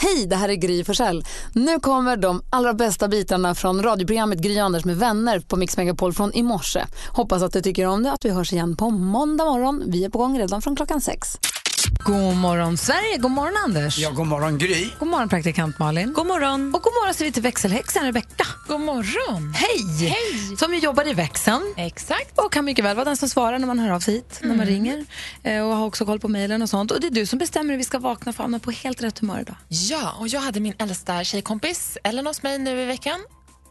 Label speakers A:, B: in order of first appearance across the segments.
A: Hej, det här är Gry Forssell. Nu kommer de allra bästa bitarna från radioprogrammet Gry Anders med vänner på Mix Megapol från i morse. Hoppas att du tycker om det att vi hörs igen på måndag morgon. Vi är på gång redan från klockan sex. God morgon Sverige, god morgon Anders.
B: Ja, god morgon Gry.
A: God morgon praktikant Malin. God morgon. Och god morgon så vi till växelhäxan Rebecka.
C: God morgon!
A: Hej!
C: Hej!
A: Som ju jobbar i växeln.
C: Exakt. Mm.
A: Och kan mycket väl vara den som svarar när man hör av sig hit, när man ringer. Eh, och har också koll på mejlen och sånt. Och det är du som bestämmer hur vi ska vakna för att hamna på helt rätt humör idag.
C: Ja, och jag hade min äldsta tjejkompis Ellen hos mig nu i veckan.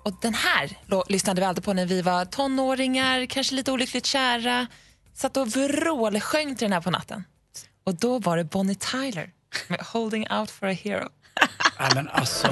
C: Och den här lå- lyssnade vi alltid på när vi var tonåringar, kanske lite olyckligt kära. Satt och vrålsjöng till den här på natten. Och då var det Bonnie Tyler med Holding Out for a Hero.
B: Nej, men alltså.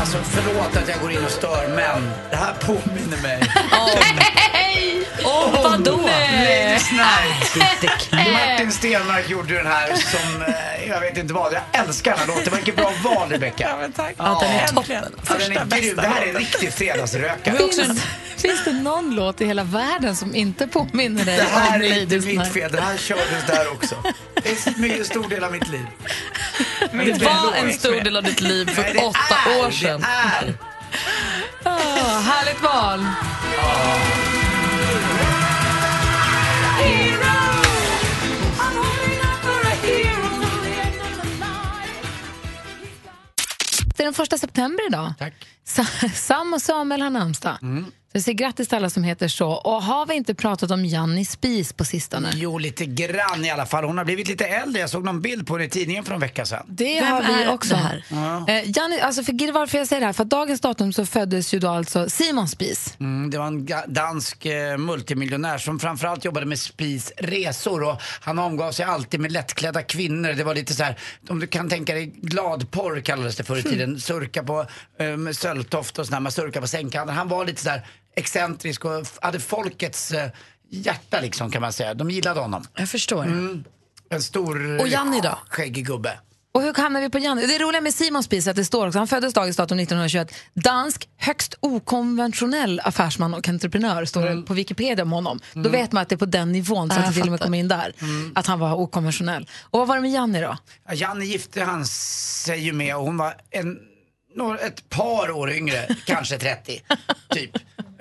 B: Alltså, förlåt att jag går in och stör, men det här påminner mig
C: Åh, vadå?
B: Ladies night. Martin Stenmark gjorde ju den här som, eh, jag vet inte vad, jag älskar den här låten. Vilket bra val
C: Ja,
B: Rebecka.
C: men tack.
B: Ja, den är
C: toppen.
B: Ja, den är grym. Det här är riktigt fredagsrökare.
A: Finns, finns det någon låt i hela världen som inte påminner dig
B: Det här
A: om
B: är inte
A: Ladies
B: mitt
A: Night?
B: fel, det här kördes där också. Det är en mycket stor del av mitt liv.
C: Det var en stor del av ditt liv för
B: Nej, det
C: åtta
B: är,
C: år sedan.
B: Det är.
A: Ja, härligt val! Det är den första september idag.
B: Tack. Mm.
A: Sa- Sam och Samuel har namnsdag. Så jag säger grattis till alla som heter så. Och har vi inte pratat om Janni Spis på sistone?
B: Jo, lite grann i alla fall. Hon har blivit lite äldre. Jag såg någon bild på henne i tidningen för en vecka sedan.
A: Det
D: Vem
A: har vi
D: är
A: också.
D: det här?
A: Eh, Janni, alltså för, gir- varför jag säger det här, för att dagens datum så föddes ju då alltså Simon Spis.
B: Mm, det var en ga- dansk eh, multimiljonär som framförallt jobbade med spisresor och han omgav sig alltid med lättklädda kvinnor. Det var lite så här, om du kan tänka dig gladporr kallades det förr
D: Mm.
B: i tiden. Surka på um, Söltoft och sådär, man surkar på sängkanten. Han var lite så här excentrisk och f- hade folkets eh, hjärta liksom kan man säga. De gillade honom. Mm.
D: Jag förstår.
B: En stor eh,
D: Och Janni då?
B: skäggig gubbe.
A: Och hur hamnar vi på Janni? Det roliga med Simon Spies är att det står också, han föddes dagens datum 1921, dansk högst okonventionell affärsman och entreprenör, står
D: Mm.
A: det på Wikipedia om honom. Då vet man att det är på den nivån, så att det till och med kommer in där,
D: Mm.
A: att han var okonventionell. Och vad var det med Janni då?
B: Ja, Janne gifte han sig ju med och hon var en, några, ett par år yngre, kanske 30, typ.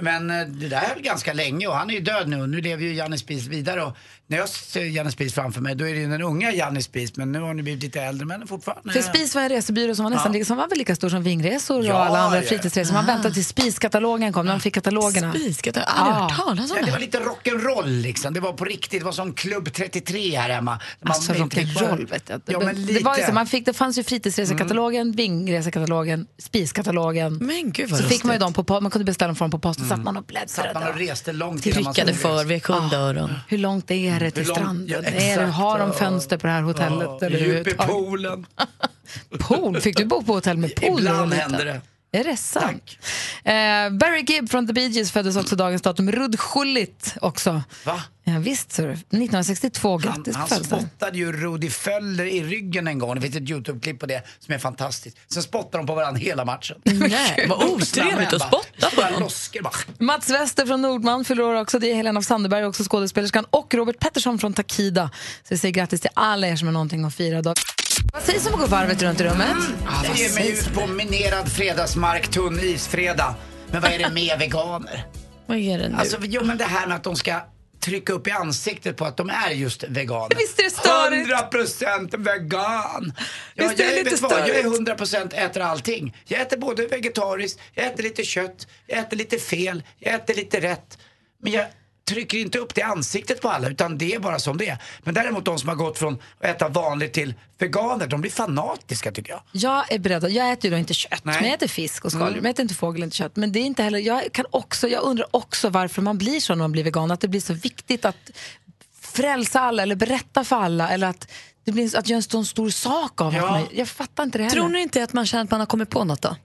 B: Men eh, det där höll ganska länge och han är ju död nu och nu lever ju Janne Spies vidare och när jag ser Janne Spies framför mig då är det ju den unga Janne Spies men nu har hon ju blivit lite äldre men fortfarande.
A: För Spis var en resebyrå som var nästan som var väl lika stor som Vingresor och alla
B: Ja,
A: andra
B: ja.
A: fritidsresor. Man väntade tills Spiskatalogen kom, när de fick katalogerna.
D: Spiskat, Ah. jag har aldrig
A: Ja.
D: hört talas om
B: Ja,
D: det
B: det var
D: här.
B: lite rock'n'roll liksom. Det var på riktigt. Det var som Klubb 33 här hemma. Man
A: Alltså
B: inte fick bara-
A: rock'n'roll vet jag.
B: Ja, men Mm. lite.
A: det, var ju så, man fick, det fanns ju fritidsresekatalogen, vingresekatalogen, spiskatalogen.
D: Men gud vad
A: Så fick man ju
D: lustigt.
A: dem på po- man kunde beställa dem från på posten,
B: Mm.
A: satt man och
B: Satt man och
A: bläddrade.
B: reste långt
D: Det ryckade
B: skulle resa.
D: för via kundöron.
A: Hur långt är det till
B: långt- ja,
A: stranden? är det,
B: exakt,
A: har de
B: ja.
A: fönster på det här hotellet?
B: Ja,
A: eller hur
B: djup i
A: tar-
B: poolen.
A: Pool? Fick du bo på hotell med pool? när du var
B: Ibland
A: liten?
B: händer det.
A: Är det sant? Eh, Barry Gibb från The Bee Gees föddes också dagens datum. Rudd Schullit också.
B: Va?
A: Ja, visst, så är det. 1962.
B: Han,
A: Grattis på
B: han
A: födelsedagen.
B: spottade ju Rudi Föller i ryggen en gång. Det finns ett YouTube-klipp på det som är fantastiskt. Sen spottar de på varandra hela matchen.
D: Nej, vad otrevligt att spotta på
B: bara
D: någon.
B: losker bara.
A: Mats Wester från Nordman fyller år också. Det är Helena af Sanderberg, också skådespelerskan. Och Robert Pettersson från Takida. Så vi säger grattis till alla er som har någonting att fira idag. Vad sägs om att gå varvet runt i rummet?
B: Jag ger mig ut på minerad fredagsmark, tunn isfredag. Men vad är det med veganer?
D: Vad är det nu?
B: Alltså, jo men det här med att de ska trycka upp i ansiktet på att de är just veganer.
A: Visst är det störigt?
B: 100% vegan! Ja,
A: Visst är det
B: jag,
A: lite
B: vet vad, jag är
A: störigt?
B: 100% äter allting. Jag äter både vegetariskt, jag äter lite kött, jag äter lite fel, jag äter lite rätt. Men jag trycker inte upp det i ansiktet på alla utan det är bara som det är. Men däremot de som har gått från att äta vanligt till veganer, de blir fanatiska tycker jag.
A: Jag är beredd. att- Jag äter ju då inte kött,
B: Nej. Mm.
A: men jag äter fisk och skaldjur. Men jag äter inte fågel, inte kött. Men det är inte heller, jag, kan också, jag undrar också varför man blir så när man blir vegan. Att det blir så viktigt att frälsa alla eller berätta för alla. Eller att det blir att göra en sån stor sak av
B: Ja.
A: att man, Jag fattar inte det heller.
D: Tror ni inte att man känner att man har kommit på något då?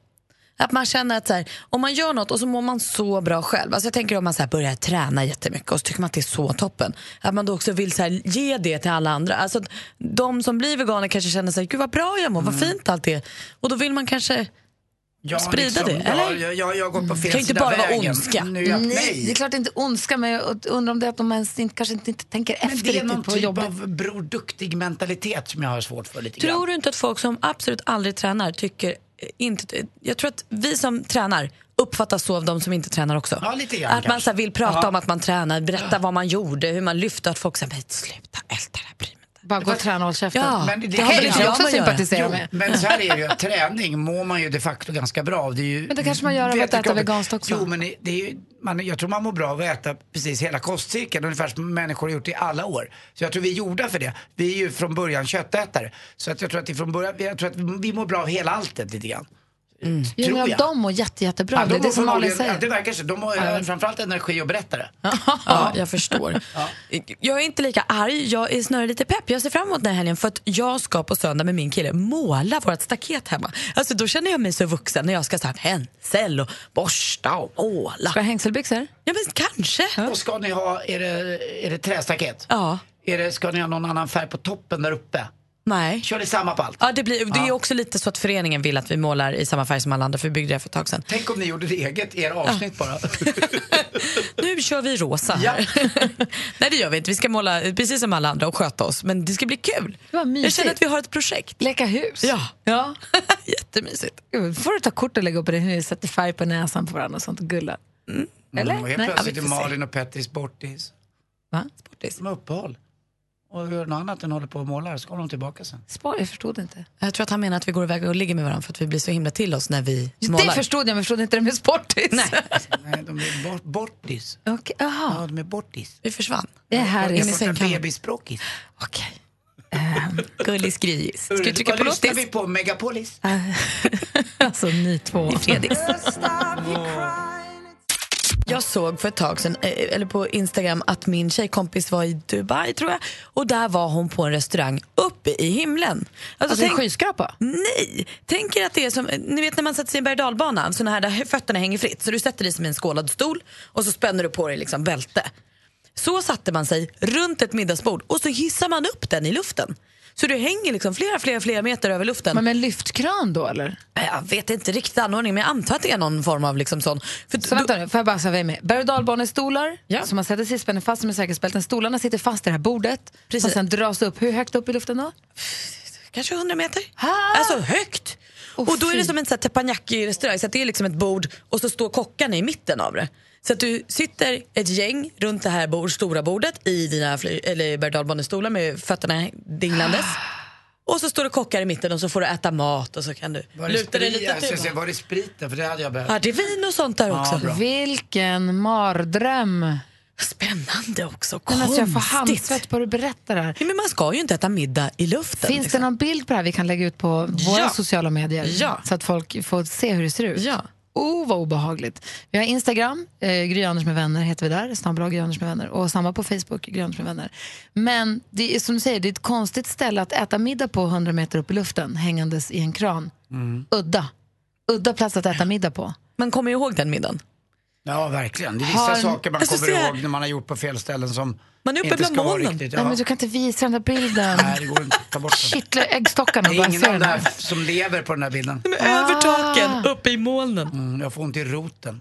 D: Att man känner att så här, om man gör något och så mår man så bra själv. Alltså jag tänker om man så här börjar träna jättemycket och så tycker man att det är så toppen. Att man då också vill så här ge det till alla andra. Alltså att de som blir veganer kanske känner sig, gud vad bra jag mår, vad
B: Mm.
D: fint allt är. Och då vill man kanske
B: Ja,
D: Sprida det,
B: liksom- ja,
D: eller?
B: Jag, jag, jag har gått på fel
D: Kan inte
B: sida
D: bara vara
B: vägen.
D: ondska.
B: Nu är jag,
E: Nej, det är
B: nej.
E: klart det är inte ondska, men jag undrar om det är att de ens inte, kanske inte, inte tänker
B: Men
E: efter
B: det är någon
E: riktigt på
B: typ
E: jobbet.
B: av Bror Duktig-mentalitet som jag har svårt för lite grann.
D: Tror du inte att folk som absolut aldrig tränar tycker eh, inte... eh, Jag tror att vi som tränar uppfattas så av de som inte tränar också.
B: Ja, lite grann
D: att man
B: kanske.
D: så här, vill prata om att man tränar, berätta vad man gjorde, hur man lyfte, att folk säger sluta älta det här, bry mig inte.
E: Bara gå och träna och håll käften.
D: Ja.
B: Men det-
E: Det kan
B: det-
E: ju
B: det-
E: jag också
D: jag göra.
E: sympatisera
B: Jo,
E: med.
B: men så här är det ju, att träning mår man ju de facto ganska bra av. Det är ju,
E: Men det kanske man gör av
B: vet
E: att
B: du,
E: äta
B: kroppen-
E: veganskt också.
B: Jo, men det det är ju, man, jag tror man mår bra av att äta precis hela kostcirkeln, ungefär som människor har gjort i alla år. Så jag tror vi är gjorda för det. Vi är ju från början köttätare. Så att jag tror att, det från början, jag tror att vi mår bra av hela alltet lite grann.
E: Jo,
B: tror
E: Mm. men
B: jag.
E: de mår jätte, jättebra.
B: Ja,
E: det
B: de
E: är det
B: mår
E: som Malin
B: förmodligen- ja, Det
E: säger.
B: verkar så. De har framförallt energi att berätta det.
D: Ja, jag förstår. Jag är inte lika arg, jag är snarare lite pepp. Jag ser fram emot den här helgen för att jag ska på söndag med min kille måla vårt staket hemma. Alltså då känner jag mig så vuxen när jag ska så här, pensel och borsta och måla.
E: Ska jag ha hängselbyxor?
D: Ja men kanske.
B: Och ska ni ha, är det, är det trästaket?
D: Ja.
B: Är det, ska ni ha någon annan färg på toppen där uppe?
D: Nej.
B: Kör ni samma på allt?
D: Ja, det, blir, det är också lite så att föreningen vill att vi målar i samma färg som alla andra, för vi byggde det för ett tag sedan.
B: Tänk om ni gjorde det eget, era avsnitt bara.
D: Nu kör vi rosa här. Nej, det gör vi inte. Vi ska måla precis som alla andra och sköta oss, men det ska bli kul.
E: Vad mysigt.
D: Jag känner att vi har ett projekt.
E: Leka hus?
D: Ja.
E: ja.
D: Jättemysigt.
E: Gud, får du ta kort och lägga upp i det nu, sätta färg på näsan på varandra och sånt och gulla. Eller?
B: Mm, Och helt
E: Nej.
B: plötsligt
D: Mm. ja, vi får
B: är
D: se.
B: Malin och Pettis bortis.
E: Va?
B: De har uppehåll. Och gör något annat än håller på och målar, så kommer de tillbaka sen.
E: Spar, jag förstod inte.
D: Jag tror att han menar att vi går iväg och ligger med varandra för att vi blir så himla till oss när vi målar.
E: Det förstod jag, men jag förstod inte det med sportis.
D: Nej,
B: Nej, de är bort, bortis.
E: Okej, aha.
B: Ja, de är bortis.
D: vi försvann.
E: Det här
B: De
E: är...
D: i
B: borta
D: sängkammaren.
B: Bebisbråkis.
E: Okej.
D: Gullis gris. Ska vi trycka
B: Vad
D: på
B: lyssnar
D: låtis?
B: vi på? Megapolis?
E: Alltså ni två.
D: Fredriks. Jag såg för ett tag sedan, eh, eller på Instagram, att min tjejkompis var i Dubai tror jag. Och där var hon på en restaurang uppe i himlen. Alltså,
E: Alltså en skyskrapa?
D: Nej, tänk er att det är som, eh, ni vet när man sätter sig i en berg och dalbana, såna här där fötterna hänger fritt. Så du sätter dig som i en skålad stol och så spänner du på dig liksom bälte. Så satte man sig runt ett middagsbord och så hissar man upp den i luften. Så du hänger liksom flera, flera, flera meter över luften.
E: Men med en lyftkran då eller?
D: Jag vet inte riktigt anordningen men jag antar att det är någon form av liksom sån. För
E: Så
D: då-
E: vänta nu, får jag bara säga vad jag är med? Berg och dalbanestolar
D: Ja.
E: som man sätter sig i, spänner fast med säkerhetsbälten. Stolarna sitter fast i det här bordet.
D: Precis.
E: Och sen dras det upp. Hur högt upp i luften då?
D: kanske 100 meter.
E: Ah!
D: Alltså högt.
E: Åh,
D: och då är det
E: fy.
D: som en sån här teppanyaki-restaurang, så att det är liksom ett bord och så står kockarna i mitten av det. Så att du sitter ett gäng runt det här bord, stora bordet i dina fly- eller berg och dalbanestolar med fötterna dinglandes. Och så står det kockar i mitten och så får du äta mat och så kan du
B: Var det,
D: luta dig
B: sprit, alltså,
D: lite.
B: jag ska
D: till,
B: se,
D: va?
B: var det spriten? För det hade jag behövt.
D: Ja, det är vin och sånt där också.
B: bra.
E: Vilken mardröm.
D: Spännande också,
E: Men
D: konstigt.
E: alltså, jag får handsvett bara du berättar det här.
D: Nej, men man ska ju inte äta middag i luften.
E: Finns det
D: liksom.
E: någon bild på det här vi kan lägga ut på våra
D: Ja.
E: sociala medier?
D: Ja.
E: Så att folk får se hur det ser ut?
D: Ja.
E: Oh, vad obehagligt. Vi har Instagram, eh, Gry Anders med vänner heter vi där, snabblag Gry Anders med vänner. Och samma på Facebook, Gry Anders med vänner. Men det är som du säger, det är ett konstigt ställe att äta middag på 100 meter upp i luften, hängandes i en kran.
B: Mm.
E: Udda. Udda plats att äta middag på.
D: Man kommer ju ihåg den middagen.
B: Ja, verkligen. Det är vissa
E: Har-
B: saker man
D: Alltså,
B: kommer
D: så här-
B: ihåg när man har gjort på fel ställen som
D: Man är uppe
B: inte
D: bland
B: ska vara
D: molnen.
B: riktigt. Ja.
E: Nej, men du kan inte visa den där bilden.
B: Nej, det går inte. Ta bort den.
E: Kittla äggstockarna
B: Det
E: bara
B: är ingen
E: ser
B: av
E: den
B: de
E: här.
B: här som lever på den här bilden. Ah.
D: Över taken, uppe i molnen.
B: Mm, jag får ont i roten.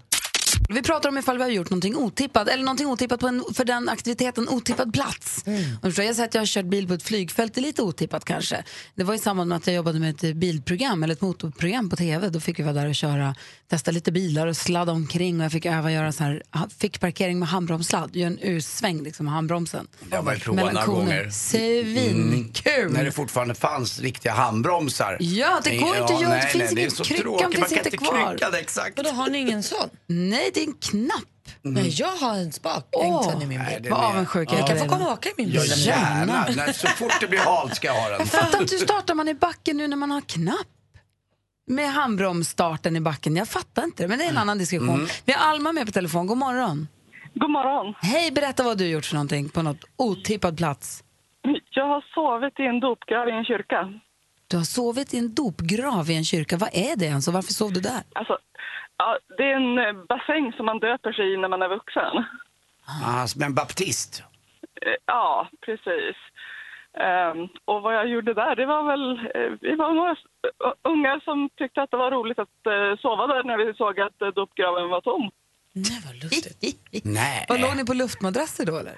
A: Vi pratar om ifall vi har gjort någonting otippat eller någonting otippat på en, för den aktiviteten otippad plats. Mm. Jag säger att jag har kört bil på ett flygfält, det är lite otippat kanske. Det var i samband med att jag jobbade med ett eh, bilprogram eller ett motorprogram på tv. Då fick vi vara där och köra, testa lite bilar och sladda omkring och jag fick öva göra så här, fick parkering med handbromssladd, gör en U-sväng liksom med handbromsen.
B: Jag har varit
A: Mellan koner.
B: Mm.
A: Svinkul!
B: När det fortfarande fanns riktiga handbromsar.
A: Ja, det går inte att göra. Det
B: Nej,
A: finns
B: nej,
A: ingen-
B: är så
A: kryckan
B: tråkigt.
A: finns
B: Man kan
A: inte kvar.
B: Krycka det, exakt.
D: Vadå, har ni ingen sån?
A: Nej, det är en knapp.
D: Nej, jag har en spak
A: Åh.
D: hängd sen i min
B: Nej,
D: bil.
B: det är
A: Vad
B: mer-
A: avundsjuk jag
D: Jag kan
A: är.
D: få komma och åka i min
B: Ja,
D: bil.
B: gärna. Nej, så fort det blir halt ska jag ha den.
A: Fattar inte hur startar man i backen nu när man har knapp? Med handbromsstarten i backen. Jag fattar inte det, men det är en annan diskussion. Vi har Alma med på telefon. God morgon.
F: God morgon.
A: Hej, berätta vad du gjort för någonting på något otippad plats.
F: Jag har sovit i en dopgrav i en kyrka.
A: Du har sovit i en dopgrav i en kyrka. Vad är det ens och varför sov du där?
F: Alltså, Ja, det är en eh, bassäng som man döper sig i när man är vuxen.
B: Ah, som en baptist.
F: Eh, Ja, precis. Ehm, och vad jag gjorde där, det var väl... eh, Vi var några s- eh, unga som tyckte att det var roligt att eh, sova där när vi såg att eh, dopgraven var tom.
D: Nej, vad lustigt.
B: Nej.
A: Och låg ni på luftmadrasser då eller?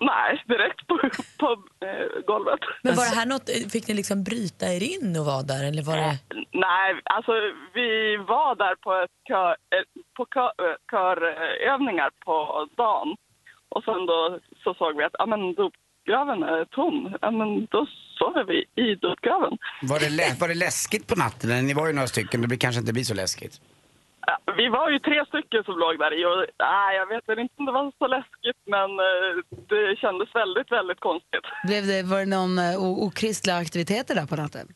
F: Nej, direkt på, på eh, golvet.
D: Men var det här något, fick ni liksom bryta er in och vara där? Eller var det...
F: Nej, alltså vi var där på, ett kör, eh, på kö- eh, körövningar på dagen. Och sen då så såg vi att ja, men dopgraven är tom. Ja, men då sover vi i dopgraven.
B: Var det, lä- var det läskigt på natten? Eller Ni var ju några stycken, det blir- kanske inte blir så läskigt.
F: Ja, vi var ju tre stycken som låg där i och nej, jag vet väl inte om det var så läskigt men eh, det kändes väldigt, väldigt konstigt.
A: Blev det, var det någon eh, o- okristliga aktiviteter där på natten?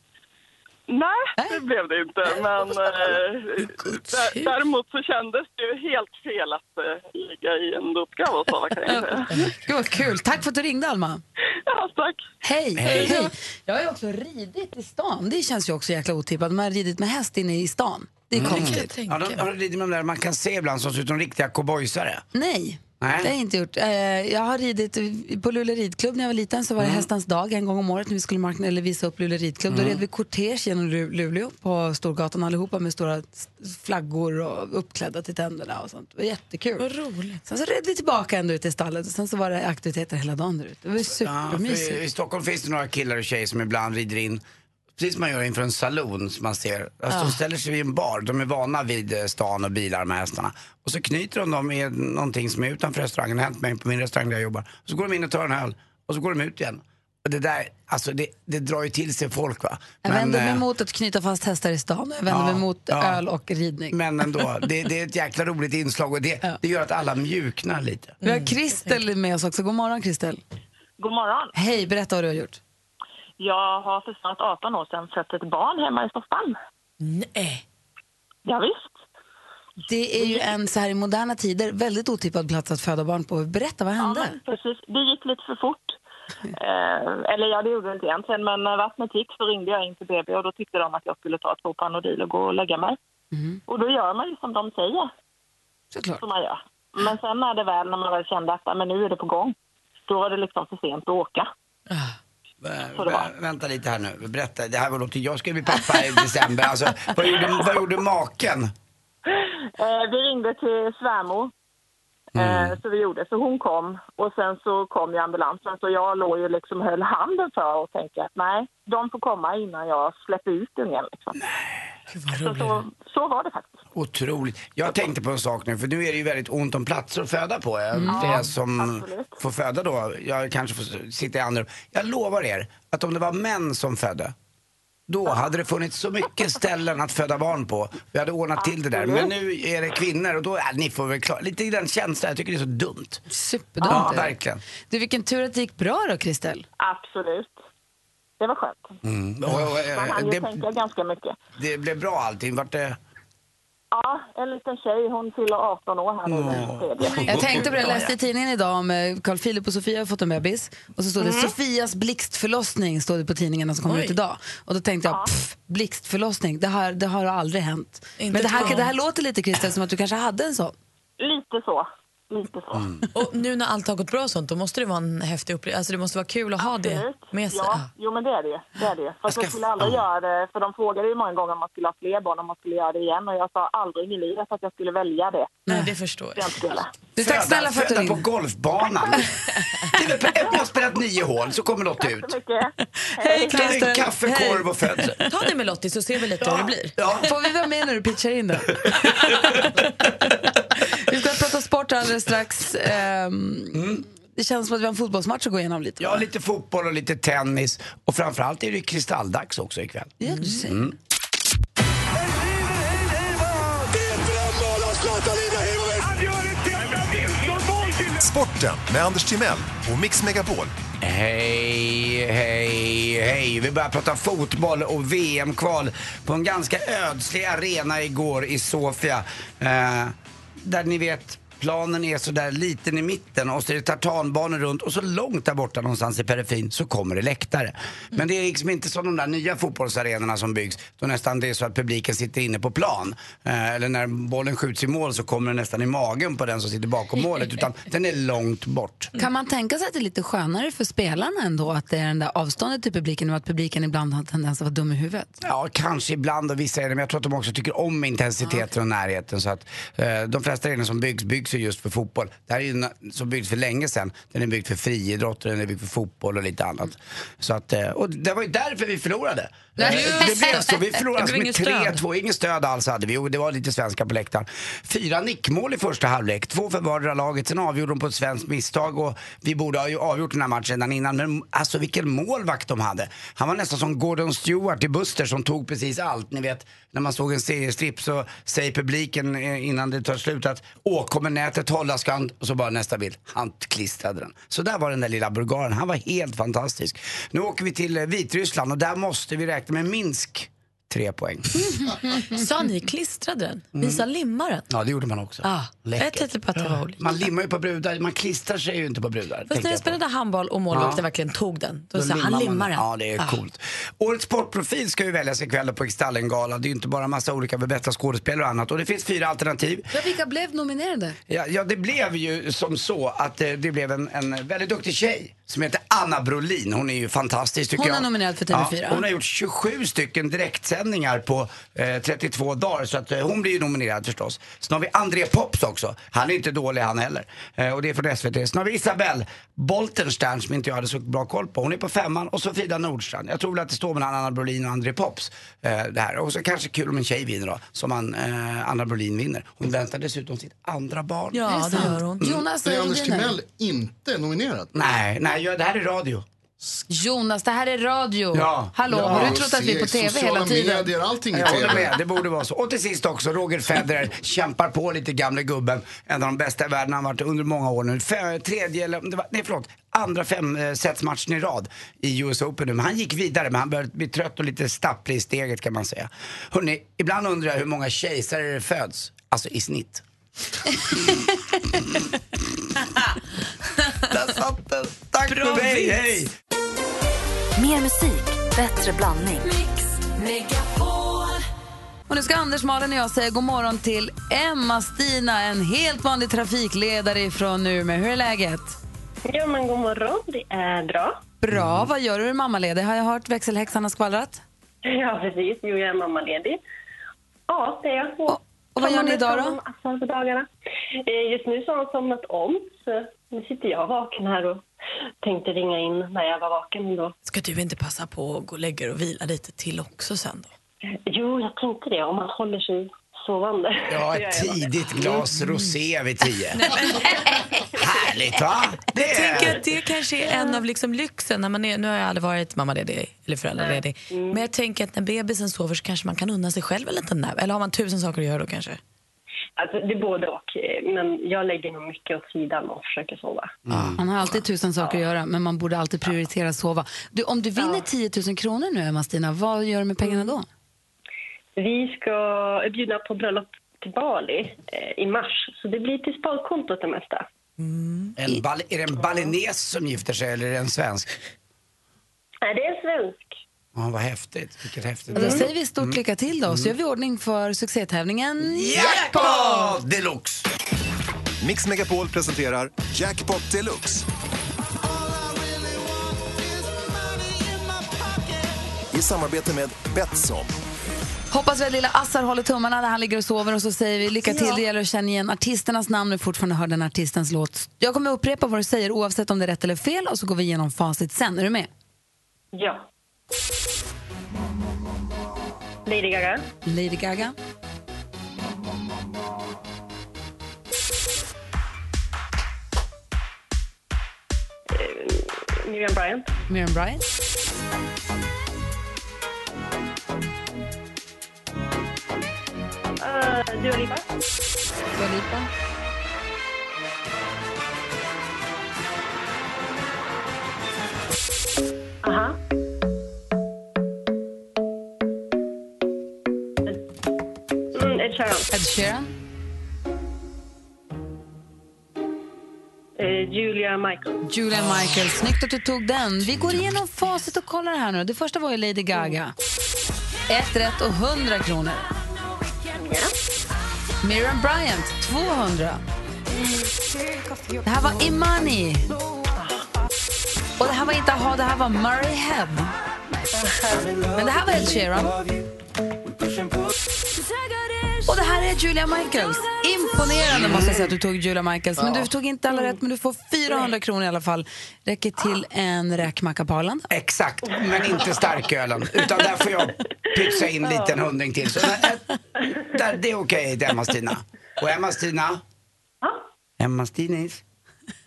F: Nej, det blev det inte. Men eh, dä- däremot så kändes det ju helt fel att eh, ligga i en dopgrav och sova kan jag säga.
A: Gud vad kul. Tack för att du ringde Alma.
F: Ja, tack.
A: Hej. Hej. Jag har ju också ridit i stan. Det känns ju också jäkla otippat. Man har ridit med häst inne i stan. Det är
B: Mm.
A: konstigt.
B: Ja, de, har du lidit med de där man kan se ibland som ser ut som riktiga cowboysare?
A: Nej, det
B: Nej.
A: har jag inte gjort. Eh, jag har ridit i- på Luleå ridklubb när jag var liten så var
B: Mm.
A: det hästens dag en gång om året när vi skulle markna, eller visa upp Luleå ridklubb. Då red vi kortege genom Lu- Luleå på Storgatan allihopa med stora s- flaggor och uppklädda till tänderna och sånt. Det var jättekul. Vad roligt. Sen så red vi tillbaka ändå ut till stallet och sen så var det aktiviteter hela dagen där ute. Det var ju
B: Ja, för
A: supermysigt.
B: i, I Stockholm finns det några killar och tjejer som ibland rider in Precis som man gör inför en saloon som man ser. Alltså, De ställer sig vid en bar, de är vana vid eh, stan och bilar med hästarna. Och så knyter de dem i någonting som är utanför restaurangen. Det har hänt mig på min restaurang där jag jobbar. Så går de in och tar en öl och så går de ut igen. Och det där, alltså det, det drar ju till sig folk va.
A: Jag vänder mig
B: eh,
A: mot att knyta fast hästar i stan och jag vänder
B: Ja,
A: mig mot
B: ja.
A: öl och ridning.
B: Men ändå, det, det är ett jäkla roligt inslag och det, det gör att alla mjuknar lite.
A: Vi har Kristel med oss också. God morgon Kristel.
G: God morgon.
A: Hej, berätta vad du har gjort.
G: Jag har för snart 18 år sedan sett ett barn hemma i soffan.
D: Nej.
G: Ja, visst.
A: Det är ju en så här i moderna tider väldigt otippad plats att föda barn på. Berätta, vad
G: Ja,
A: hände?
G: men precis. Det gick lite för fort. Eh, eller ja, det gjorde det inte egentligen, men när vattnet gick så ringde jag in till BB och då tyckte de att jag skulle ta två Panodil och gå och lägga mig.
A: Mm.
G: Och då gör man ju som de säger,
A: Såklart.
G: som man gör. Men sen när det väl, när man väl kände att "Ja, men nu är det på gång, då var det liksom för sent att åka.
B: Vä-
G: Så det var.
B: vä- Vänta lite här nu, berätta. Det här var låter, jag ska ju bli pappa i december. Alltså, vad, gjorde, vad gjorde maken?
G: Eh, vi ringde till svärmor. Eh, så vi gjorde, så hon kom och sen så kom ju ambulansen så jag låg ju liksom höll handen för och tänkte att nej, de får komma innan jag släpper ut ungen liksom. Så, så, så var det faktiskt.
B: Otroligt. Jag tänkte på en sak nu, för nu är det ju väldigt ont om platser att föda på. Jag, flera som
G: Mm. absolut.
B: får föda då, jag kanske får sitta i andra rum. Jag lovar er att om det var män som födde, då hade det funnits så mycket ställen att föda barn på. Vi hade ordnat till det där. Men nu är det kvinnor och då, äh, ni får väl klara Lite den känslan, jag tycker det är så dumt.
A: Superdumt.
B: Ja,
A: är det.
B: verkligen.
A: Du, vilken tur att det gick bra då, Kristel.
G: Absolut. Det var skönt.
B: Mm. Och, och,
G: Man hann
B: och,
G: ju
B: det,
G: tänka ganska mycket.
B: det blev bra allting. Vart det...
G: Ja, en liten tjej, hon fyller 18 år här nu den tredje.
A: Jag tänkte på det, jag läste i tidningen idag om eh, Carl Philip och Sofia har fått en bebis. Och så står det Sofias blixtförlossning, står det på tidningarna som kommer ut idag. Och då tänkte jag, pff, blixtförlossning, det har, det har aldrig hänt.
D: Inte
A: Men det här,
D: ett
A: det här låter lite, Kristel, som att du kanske hade en sån.
G: Lite så. Lite så.
D: Och nu när allt har gått bra och sånt, då måste det vara en häftig upplevelse. Alltså det måste vara kul att ha det
G: Absolut.
D: med sig.
G: Ja, jo men det är det ju. det, är det. ju. Fast
B: ska-
G: jag skulle aldrig göra det, för de frågade ju många gånger om man skulle ha fler barn, om man skulle göra det igen. Och jag sa aldrig i livet att jag skulle välja det.
D: Nej, det förstår
G: Jag
D: jag.
G: inte skulle.
A: Du, tack snälla för att du
B: föda på
A: ringde.
B: golfbanan. det är väl, jag har spelat nio hål, så kommer något ut.
G: Så mycket.
D: Hej
B: Det är
D: Christer!
B: kaffe, korv och födsel.
D: Ta det med Lottie så ser vi lite hur det blir.
B: Ja.
A: Får vi vara med när du pitchar in den? vi ska prata sport alldeles strax. Ehm, Det känns som att vi har en fotbollsmatch att gå igenom lite.
B: Mm. ja, lite fotboll och lite tennis. Och framförallt är det ju kristalldags också ikväll. Mm.
A: Ja, du ser.
H: Sporten med Anders Timell och Mix Megapol.
B: Hej, hej, hej. Vi börjar prata fotboll och VM-kval på en ganska ödslig arena igår i Sofia. Eh, där ni vet, planen är sådär liten i mitten och så är det tartanbanor runt och så långt där borta någonstans i periferin så kommer det läktare. Men det är liksom inte som de där nya fotbollsarenorna som byggs då nästan det är så att publiken sitter inne på plan. Eh, eller när bollen skjuts i mål så kommer den nästan i magen på den som sitter bakom målet utan den är långt bort.
A: Kan man tänka sig att det är lite skönare för spelarna ändå att det är den där avståndet till publiken och att publiken ibland har en tendens att vara dum i huvudet?
B: Ja, kanske ibland och vissa är det, men jag tror att de också tycker om intensiteten och närheten. Så att, eh, de flesta arenor som byggs, byggs ju just för fotboll. Det här är ju na- som byggdes för länge sedan. Den är byggd för friidrott och den är byggd för fotboll och lite annat. Så att, eh, och det var ju därför vi förlorade. Eh, det blev så. Vi förlorade alltså med 3-2. Inget stöd alls hade vi. Jo, det var lite svenska på läktaren. Fyra nickmål i första halvlek. Två för vardera laget. Sen avgjorde de på ett svenskt misstag och vi borde ha ju avgjort den här matchen redan innan. Men alltså vilken målvakt de hade. Han var nästan som Gordon Stewart i Buster som tog precis allt. Ni vet, när man såg en seriestripp så säger publiken eh, innan det tar slut att åh, kommer nätet hålla ska han... Och så bara nästa bild. Han klistrade den. Så där var den där lilla bulgaren. Han var helt fantastisk. Nu åker vi till eh, Vitryssland och där måste vi räkna med Minsk. Tre poäng.
D: Mm. Sa ni klistrade den? Visa limmaren?
B: Ja, Mm. det gjorde man också.
D: Ah, jag
B: Läckert.
D: tänkte på att det var olika.
B: Man limmar ju på brudar, man klistrar sig ju inte på brudar.
D: Fast
B: tänker
D: när jag
B: jag på.
D: spelade handboll och målvakten
B: Ja.
D: verkligen tog den, då,
B: Då
D: sa han
B: man
D: limmar den.
B: Ja, det är coolt. Årets sportprofil ska ju väljas ikväll på Kristallengalan. Det är ju inte bara massa olika bästa skådespelare och annat. Och det finns fyra alternativ.
A: Ja, vilka blev nominerade?
B: Ja, ja, det blev ju som så att eh, det blev en, en väldigt duktig tjej som heter Anna Brolin. Hon är ju fantastisk tycker
A: Hon
B: jag.
A: är nominerad för TV4.
B: Ja, hon har gjort 27 stycken direktsändningar på eh, 32 dagar så att eh, hon blir ju nominerad förstås. Sen har vi André Pops också. Han är inte dålig han heller. Eh, och det är från SVT. Sen har vi Isabelle Boltenstern som inte jag hade så bra koll på. Hon är på femman och så Frida Nordstrand. Jag tror väl att det står mellan Anna Brolin och André Pops. Eh, det här. Och så kanske kul om en tjej vinner då. Som han, eh, Anna Brolin vinner. Hon väntar dessutom sitt andra barn.
D: Ja, det gör hon.
A: Jonas,
I: Mm. Är Anders
A: dina.
I: Timell inte nominerad?
B: Nej, nej, ja, det här är radio.
A: Jonas, det här är radio.
B: Ja.
A: Hallå, har
I: Ja,
A: du trott att vi är på
I: se
A: tv hela
I: Sociala
A: tiden?
I: medier, allting är
B: Jag håller
I: tv.
B: med, det borde vara så. Och till sist också, Roger Federer kämpar på lite, gamle gubben. En av de bästa i världen, han har varit under många år nu. Fe- tredje, eller om det var, nej förlåt, andra femsetsmatchen i rad i US Open nu. Men han gick vidare, men han började bli trött och lite stapplig i steget kan man säga. Hörrni, ibland undrar jag hur många kejsare det föds, alltså i snitt. Där satt den! Tack för mig, hej!
J: Mer musik, bättre blandning.
A: Och nu ska Anders, Malin och jag säga god morgon till Emma-Stina, en helt vanlig trafikledare ifrån Umeå. Hur är läget?
G: Ja, men god morgon. Det är bra.
A: Bra.
G: Mm.
A: Vad gör du i mammaledig? Har jag hört växelhäxan har skvallrat?
G: Ja, precis. Nu är jag mammaledig. Ja, det är jag.
A: Och, och vad gör ni idag
G: Kommer
A: då?
G: från afton för dagarna. Eh, Just nu så har hon somnat om, så nu sitter jag vaken här och tänkte ringa in när jag var vaken då.
D: Ska du inte passa på att gå och lägga dig och vila lite till också sen då?
G: Jo, jag tänkte det, om man håller sig sovande.
B: Ja,
G: Så gör
B: ett
G: jag det.
B: tidigt glas rosé vid tio. Härligt va? Det
D: Jag tänker
B: är...
D: att det kanske är en av liksom lyxen. När man är, nu har jag aldrig varit mammaledig eller föräldraledig. Men jag tänker att när bebisen sover så kanske man kan unna sig själv en liten nap. Eller har man tusen saker att göra då kanske?
G: Alltså, det är både och, eh, men jag lägger nog mycket åt sidan och försöker sova.
A: Man har alltid tusen saker att göra, men man borde alltid prioritera sova. Du, om du vinner 10 000 kronor nu, Emma-Stina, vad gör du med pengarna
G: Mm.
A: då?
G: Vi ska bjuda på bröllop till Bali eh, i mars, så det blir till sparkontot det mesta.
B: En bal- är det en balines som gifter sig eller är det en svensk?
G: Nej, det är Mm. svensk.
B: Ja, vad häftigt. Vilket häftigt. Mm.
A: Då säger vi stort lycka till då,
G: Mm.
A: så gör vi ordning för succétävlingen
B: Jackpot deluxe!
K: Mix Megapol presenterar Jackpot Deluxe. I samarbete med Betsson.
A: Hoppas vi att lilla Assar håller tummarna när han ligger och sover och så säger vi lycka till. Det gäller att känna igen artisternas namn och fortfarande hör den artistens låt. Jag kommer upprepa vad du säger oavsett om det är rätt eller fel och så går vi igenom facit sen. Är du med?
G: Ja. Lady Gaga.
A: Lady Gaga,
G: Miriam Bryant.
A: Miriam Bryant,
G: Uh, Dua Lipa.
A: Dua Lipa,
G: Aha. Mm, Ed Sheeran.
A: Ed Sheeran,
G: Eh, Julia Michael.
A: Julia Michaels, snyggt att du tog den. Vi går igenom facit och kollar här nu. Det första var ju Lady Gaga. Ett rätt och 100 kronor. Miriam Bryant, 200. Det här var Imani. Och det här var inte Aha, det här var Murray Head. Men det här var Ed Sheeran. Och det här är Julia Michaels. Imponerande måste jag säga att du tog Julia Michaels. Men
E: Ja.
A: du tog inte alla rätt, men du får 400 kronor i alla fall. Räcker till en räkmacka på Arlanda.
B: Exakt, men inte starkölen. Utan där får jag pytsa in lite en hundring till. Så där, där, det är okej, okay, Emma-Stina. Och Emma-Stina? Emma-Stinis?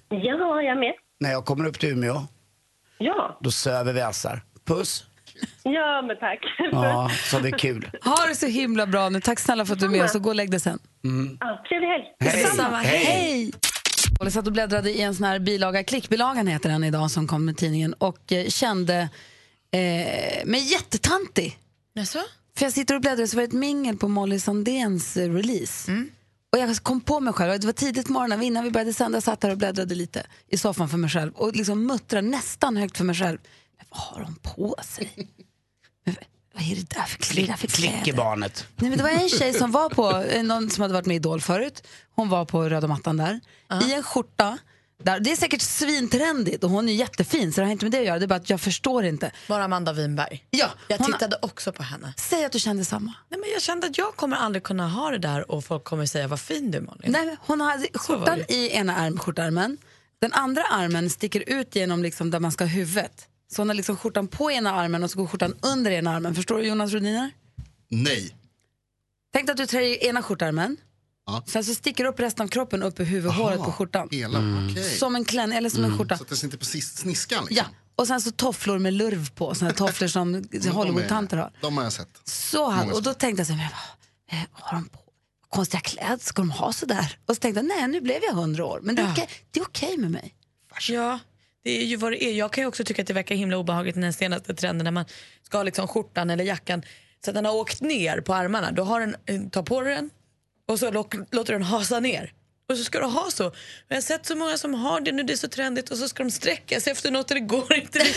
G: Ja, jag är med.
B: När jag kommer upp till Umeå,
G: Ja,
B: då söver vi assar. Puss!
G: ja men tack.
B: Ja, så det är kul.
A: Ha det så himla bra nu. Tack snälla för att du är med oss och gå och lägg dig sen.
B: Mm.
G: Ja, Trevlig helg.
B: Hej.
A: Detsamma.
B: Hej.
A: Hej! Och jag satt och bläddrade i en sån här bilaga, klickbilagan heter den idag, som kom med tidningen och eh, kände eh, mig jättetantig.
D: Jaså?
A: För jag sitter och bläddrar så var det ett mingel på Molly Sandéns eh, release. Och jag kom på mig själv, det var tidigt på morgonen innan vi började sända, jag satt där och bläddrade lite i soffan för mig själv och liksom muttrade nästan högt för mig själv. Men vad har hon på sig? Men, vad är det där för, kl- det där för kläder?
B: Klick i barnet.
A: Nej, men det var en tjej som var på, eh, någon som hade varit med i Idol förut, hon var på röda mattan där, i en skjorta. Där. Det är säkert svintrendigt och hon är jättefin så det har inte med det att göra, det är bara att jag förstår inte.
D: Bara Amanda Winberg.
A: Ja,
D: Jag
A: hon-
D: tittade också på henne.
A: Säg att du kände samma.
D: Nej, men jag kände att jag kommer aldrig kunna ha det där och folk kommer säga vad fin du är Malin.
A: Nej, hon hade
D: var
A: skjortan
D: det.
A: i ena arm, skjortärmen, den andra armen sticker ut genom liksom där man ska ha huvudet. Så hon har liksom skjortan på ena armen och så går skjortan under ena armen. Förstår du Jonas Rhodiner?
I: Nej.
A: Tänk dig att du trär i ena skjortärmen, sen så sticker upp resten av kroppen upp i huvudhåret på skjortan.
I: Hela,
B: Mm.
I: okej.
A: Mm.
I: Mm.
A: Som en klänning eller som en skjorta.
I: Så att det sitter på sis- sniskan liksom.
A: Ja, och sen så tofflor med lurv på, såna här tofflor som
I: Men de är-
A: Hollywood-tanter har.
I: De har jag sett.
A: Så han, och då tänkte jag så här, men vad eh, har de på? Konstiga kläder, ska de ha så där? Och så tänkte jag, nej nu blev jag hundra år, men det är okej, det är okej med mig.
D: Ja, det är ju vad det är. Jag kan ju också tycka att det verkar himla obehagligt i den senaste trenden när man ska ha liksom skjortan eller jackan så att den har åkt ner på armarna. Då har den, eh, tar på dig den och så lock- låter den hasa ner. Och så ska du ha så. Men jag har sett så många som har det nu, det är så trendigt och så ska de sträcka sig efter något och det går inte. Det,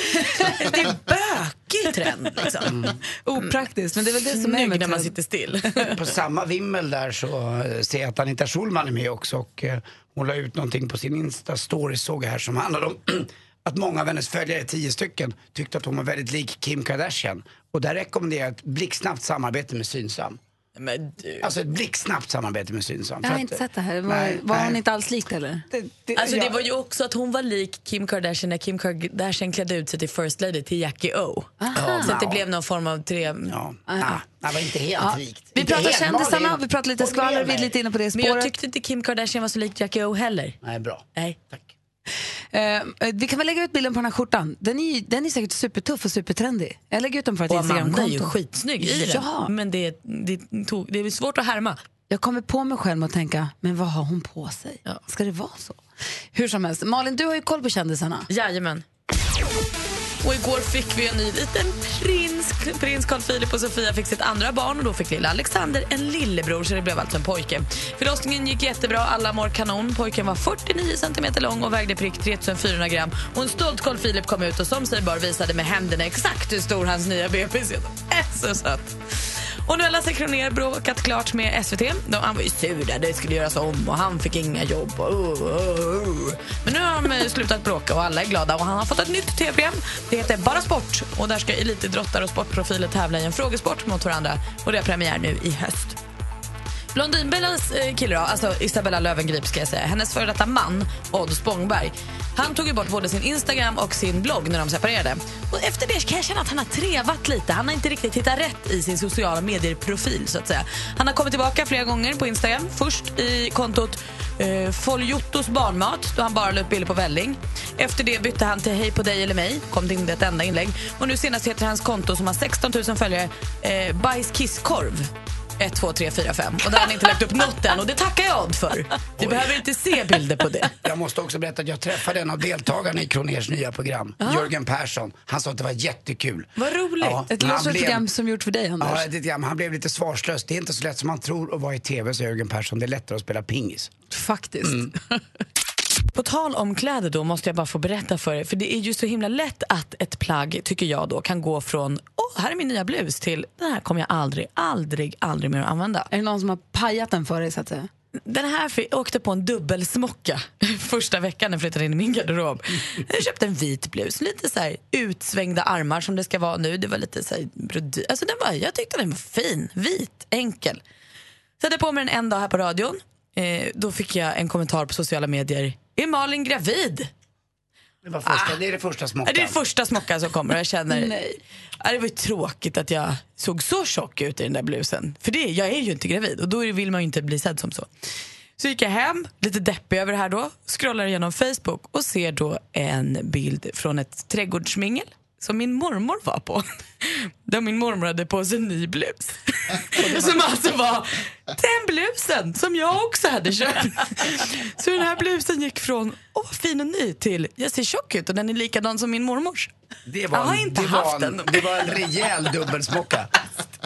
D: det är en bökig trend liksom.
A: Opraktiskt, men det är väl det som är
D: Snygg
A: med
D: när man
A: trend.
D: sitter still.
B: På samma vimmel där så eh, ser jag att Anita Schulman är med också och eh, hon la ut någonting på sin Insta-story såg jag här som handlade om att många av hennes följare, tio stycken, tyckte att hon var väldigt lik Kim Kardashian. Och där rekommenderar jag ett blixtsnabbt samarbete med Synsam.
D: Men du.
B: Alltså ett blixtsnabbt samarbete med Synsam.
A: Jag har
B: För att,
A: inte
B: eh,
A: sett det här, var,
B: nej,
A: var hon
B: nej.
A: inte alls likt eller?
D: Alltså det
A: jag-
D: var ju också att hon var lik Kim Kardashian när Kim Kardashian klädde ut sig till First Lady till Jackie O.
A: Aha.
D: Så att det
A: Ja.
D: blev någon form av tre...
A: Ah.
B: Det var inte helt rikt.
A: Vi
D: Inte
A: pratar
D: helt,
A: kändisarna,
D: Malin.
A: vi pratar lite
D: Håll
A: skvaller,
D: med
A: vi är
D: mig.
A: lite inne på det
D: Men jag
A: spåret.
D: tyckte inte Kim Kardashian var så lik Jackie O heller.
B: Nej, bra.
D: Nej.
A: Eh, vi kan väl lägga ut bilden på den här skjortan. Den är, ju- den är säkert supertuff och supertrendig. Jag lägger ut den på ett
D: Och Amanda är ju
A: Instagramkonto.
D: skitsnygg i den.
A: Ja.
D: Men det, det, tog, det är svårt att härma.
A: Jag kommer på mig själv och tänka, men vad har hon på sig? Ska det vara så? Hur som helst, Malin du har ju koll på kändisarna.
D: Jajamän. Och igår fick vi en ny liten prins. Prins Carl Philip och Sofia fick sitt andra barn och då fick lilla Alexander en lillebror så det blev alltså en pojke. Förlossningen gick jättebra, alla mår kanon. Pojken var 49 centimeter lång och vägde prick 3400 gram. Och en stolt Carl Philip kom ut och som sig bör visade med händerna exakt hur stor hans nya bebis är. Äh, Så söt. Och nu har Lasse Kronér bråkat klart med SVT. De, han var ju sur där, det skulle göras om och han fick inga jobb. Och, oh, oh, oh. Men nu har de eh, slutat bråka och alla är glada och han har fått ett nytt tv-program. Det heter Bara Sport och där ska elitidrottare och sportprofiler tävla i en frågesport mot varandra och det har premiär nu i höst. Blondinbellans eh, kille då, alltså Isabella Löwengrip ska jag säga, hennes före detta man Odd Spångberg, han tog ju bort både sin Instagram och sin blogg när de separerade. Och efter det kan jag känna att han har trevat lite. Han har inte riktigt hittat rätt i sin sociala medier-profil så att säga. Han har kommit tillbaka flera gånger på Instagram. Först i kontot eh, Foljottos barnmat då han bara la upp bilder på välling. Efter det bytte han till Hej på dig eller mig, kom det inte ett enda inlägg. Och nu senast heter hans konto som har 16 000 följare eh, Bajs kisskorv. 1, 2, 3, 4, 5. Och där har ni inte lagt upp något än och det tackar jag Odd för. Du behöver inte se bilder på det.
B: Jag måste också berätta att jag träffade en av deltagarna i Kroners nya program, Jörgen Persson. Han sa att det var jättekul.
A: Vad roligt.
B: Ja,
A: Ett
B: han
A: låtsamt
B: blev-
A: program som gjort för dig Anders.
B: Ja, det, ja, men han blev lite svarslös. Det är inte så Mm. lätt som man tror att vara i tv, sa Jörgen Persson. Det är lättare att spela pingis.
A: Faktiskt.
D: På tal om kläder då måste jag bara få berätta för er, för det är ju så himla lätt att ett plagg, tycker jag då, kan gå från åh, här är min nya blus till den här kommer jag aldrig, aldrig, aldrig mer att använda.
A: Är det någon som har pajat den för dig så att säga?
D: Den här fi- åkte på en dubbelsmocka första veckan när jag flyttade in i min garderob. Jag köpte en vit blus, lite så här utsvängda armar som det ska vara nu. Det var lite så här brodyr. Alltså den var, jag tyckte den var fin, vit, enkel. Satte på mig den en dag här på radion. Eh, då fick jag en kommentar på sociala medier. Är Malin gravid?
B: Det, var första, det är det första smockan.
D: Det är första smockan som kommer och jag känner,
L: Mm.
B: Nej.
D: Ja, det var ju tråkigt att jag såg så tjock ut i den där blusen. För det, jag är ju inte gravid och då vill man ju inte bli sedd som så. Så gick jag hem, lite deppig över det här då, scrollar igenom Facebook och ser då en bild från ett trädgårdsmingel som min mormor var på. Där min mormor hade på sig en ny blus. Som alltså var den blusen som jag också hade köpt. Så den här blusen gick från åh vad fin och ny till jag ser tjock ut och den är likadan som min mormors.
B: Det var
D: jag har
B: en-
D: inte
B: det
D: haft
B: var en,
D: den.
B: Det var en rejäl dubbelsmocka.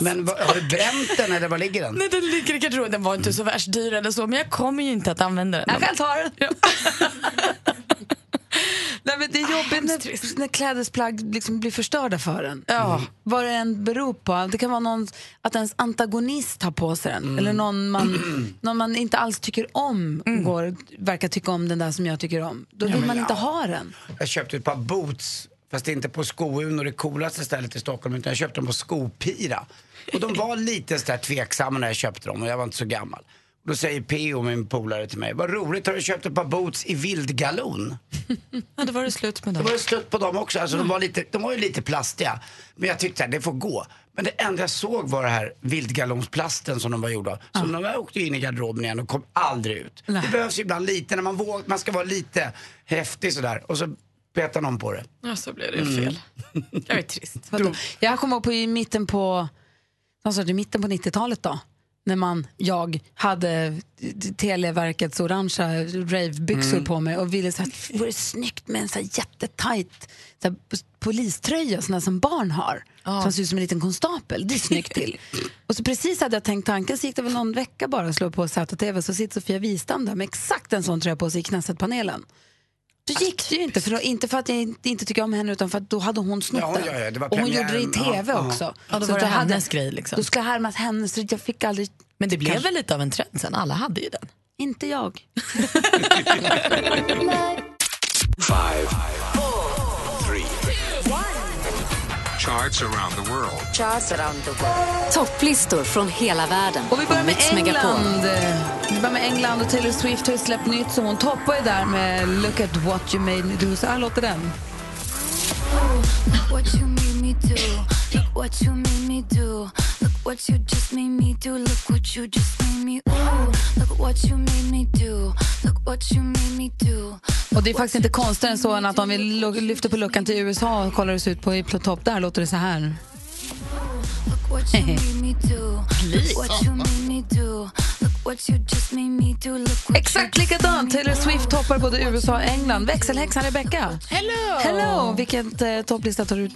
B: Men vad- har du bränt den eller var ligger den?
D: Nej, den ligger i garderoben. Den var inte så värst dyr eller så, men jag kommer ju inte att använda den. Jag själv tar den.
A: Nej, men det är
B: Ah,
A: jobbigt när, när klädesplagg liksom blir förstörda för en. Mm.
D: Ja.
A: Vad det än beror på. Det kan vara någon, att ens antagonist har på sig den.
B: Mm.
A: Eller någon man, någon man inte alls tycker om går, verkar tycka om den där som jag tycker om. Då
B: Mm. Ja,
A: vill
B: men
A: man inte
B: ja.
A: ha den.
B: Jag köpte ett par boots, fast inte på Skouno, det coolaste stället i Stockholm, utan jag köpte dem på Skopira. Och de var lite sådär tveksamma när jag köpte dem och jag var inte så gammal. Då säger P.O. min polare till mig, vad roligt, har du köpt ett par boots i vildgalon?
D: Ja, då var det slut med
B: Det
D: dem.
B: var ju slut på dem också, alltså, de, var lite, de var ju lite plastiga. Men jag tyckte att det får gå. Men det enda jag såg var det här vildgalonsplasten som de var gjorda av. Så de där åkte ju in i garderoben igen och kom aldrig ut. Det behövs ju ibland lite, när man, våg, man ska vara lite häftig sådär. Och så petar någon på det.
D: Ja, så blev det
B: Mm.
D: fel. Jag är trist.
A: Vadå? Jag kommer ihåg på i mitten på, alltså, i mitten på 90-talet då. När man, jag, hade t- Televerkets orangea ravebyxor
E: Mm.
A: på mig och ville så här, vore det snyggt med en så här jättetajt så här, p- poliströja, sån här som barn har. Som ser ut som en liten konstapel, det är snyggt till. och så precis hade jag tänkt tanken, så gick det väl någon vecka bara och slog på ZTV, så sitter Sofia Wistam där med exakt en sån tröja på sig i Knesset-panelen. Så gick det ju inte, för då, inte för att jag inte- inte tycker om henne utan för att då hade hon snott
B: Ja,
A: den.
B: ja, ja, det var
A: och hon gjorde
B: premiären.
A: det i tv
B: Ja, ja.
A: också.
D: Ja, då
A: Så
D: var
A: att
D: det
A: jag hade-
D: hennes grej liksom.
A: Då skulle jag härmas hennes, så jag fick aldrig...
D: Men det blev
A: Kanske-
D: väl lite av en trend sen? Alla hade ju den.
A: Inte jag.
M: Five, three, charts around the world.
J: Topplistor från hela världen.
A: Och vi börjar med
J: Mix Megapol.
A: England. Vi börjar med England och Taylor Swift har ju släppt nytt så hon toppar ju där med Look at what you made me do. Så här låter den.
N: Look what you made me do. Look what you made me do. Look what you just made me do. Look what you just made me. Ooh. Look what you made me do. Look what you made me do.
A: Och det är faktiskt inte konstigare än så än att om vi lo- lyfter på luckan till USA och kollar hur det ser ut på i pl- topp där låter det så här.
N: Look what you made me do.
A: Please.
N: Look what you made me do. Look what you just made me do. Look what
A: Exakt likadant. Taylor Swift toppar både USA och England. Växelhäxan Rebecca.
C: Hello!
A: Hello! Vilket eh, topplista tar du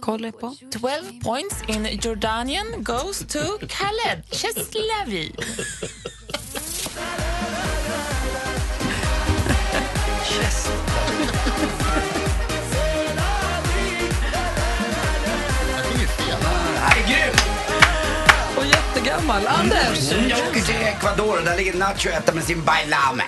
A: koll på?
C: 12 points in Jordanian goes to Khaled Cheslavi.
B: Nej, grym!
A: Och jättegammal. Anders!
B: Mm. Jag åker till Ecuador och där ligger Nacho och äter med sin bailame.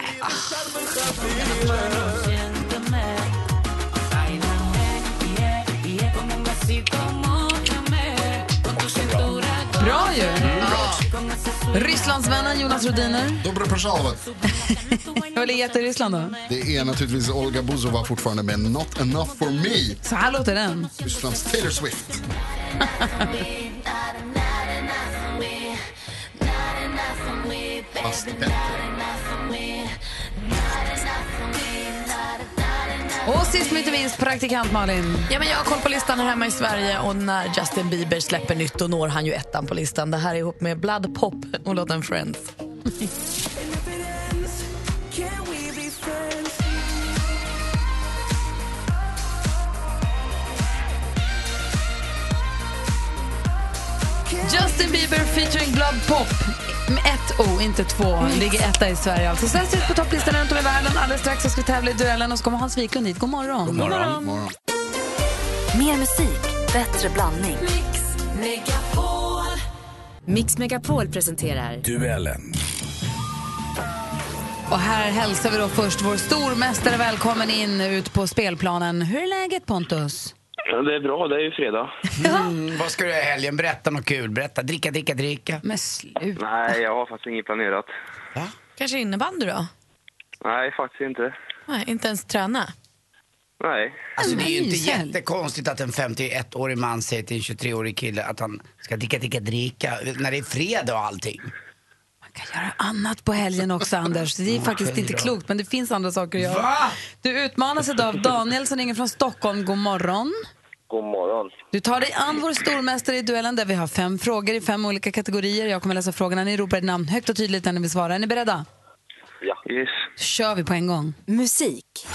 A: Bra ju! Rysslandsvännen Jonas Rhodiner.
I: Dobro пожаловать.
A: Vad ligger jätte i Ryssland då?
I: Det är naturligtvis Olga Buzova fortfarande med Not enough for me.
A: Så här låter den.
I: Rysslands Taylor Swift. Fast bättre.
A: Och sist men inte minst, praktikant Malin.
D: Ja, men jag har koll på listan här hemma i Sverige och när Justin Bieber släpper nytt då når han ju ettan på listan. Det här är ihop med Blood Pop och låten Friends.
A: Justin Bieber featuring Blood Pop. Med ett O, inte två. Han ligger etta i Sverige alltså. Svenskt ut på topplistan runt om i världen. Alldeles strax så ska vi tävla i duellen och så kommer Hans Wiklund hit. God morgon.
I: God morgon. God morgon. Mer musik, bättre blandning. Mix Megapol.
E: Mix Megapol presenterar... Duellen.
A: Och här hälsar vi då först vår stormästare välkommen in ut på spelplanen. Hur är läget Pontus?
K: Ja, det är bra, det är ju fredag.
B: Mm, vad ska du göra i helgen? Berätta något kul. Berätta. Dricka, dricka, dricka.
A: Men sluta.
K: Nej, jag har faktiskt inget planerat.
D: Kanske innebandy då?
K: Nej, faktiskt inte.
D: Nej, inte ens träna.
K: Nej.
B: Alltså, det är ju inte
D: Mysel.
B: jättekonstigt att en 51-årig man säger till en 23-årig kille att han ska dricka, dricka, dricka när det är fredag och allting.
A: Annat på helgen också Anders. Det är faktiskt
B: Okej
A: inte
B: då.
A: klokt men det finns andra saker att göra.
B: Va?
A: Du utmanas idag av Daniel som ringer från Stockholm. God morgon.
G: God morgon.
A: Du tar dig an vår stormästare i duellen där vi har fem frågor i fem olika kategorier. Jag kommer läsa frågorna. Ni ropar ett namn högt och tydligt när ni vill svara. Är ni beredda?
K: Ja. Yes.
A: Då kör vi på en gång.
E: Musik.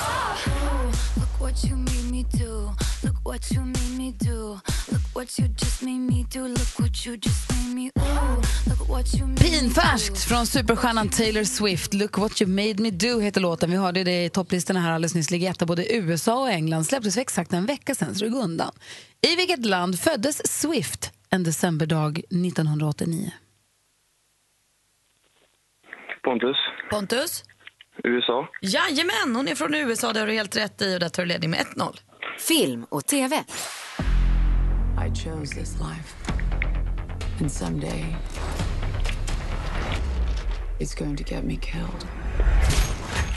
N: Look what you made me do. Look what you made me do. Look what you just made me do. Look what you just made me. Ooh, look what you made me do.
A: Pinfärskt från superstjärnan Taylor Swift. Look what you made me do heter låten. Vi hörde det i topplistorna här alldeles nyss. Ligger etta både i USA och England. Släpptes för exakt en vecka sedan, så det går undan. I vilket land föddes Swift en decemberdag 1989?
K: Pontus,
D: Pontus?
K: USA.
D: Jajamän, hon är från USA, det har du helt rätt i och där tar du ledning med 1-0.
E: Film och TV.
O: I chose this life. And someday, it's going to get me killed.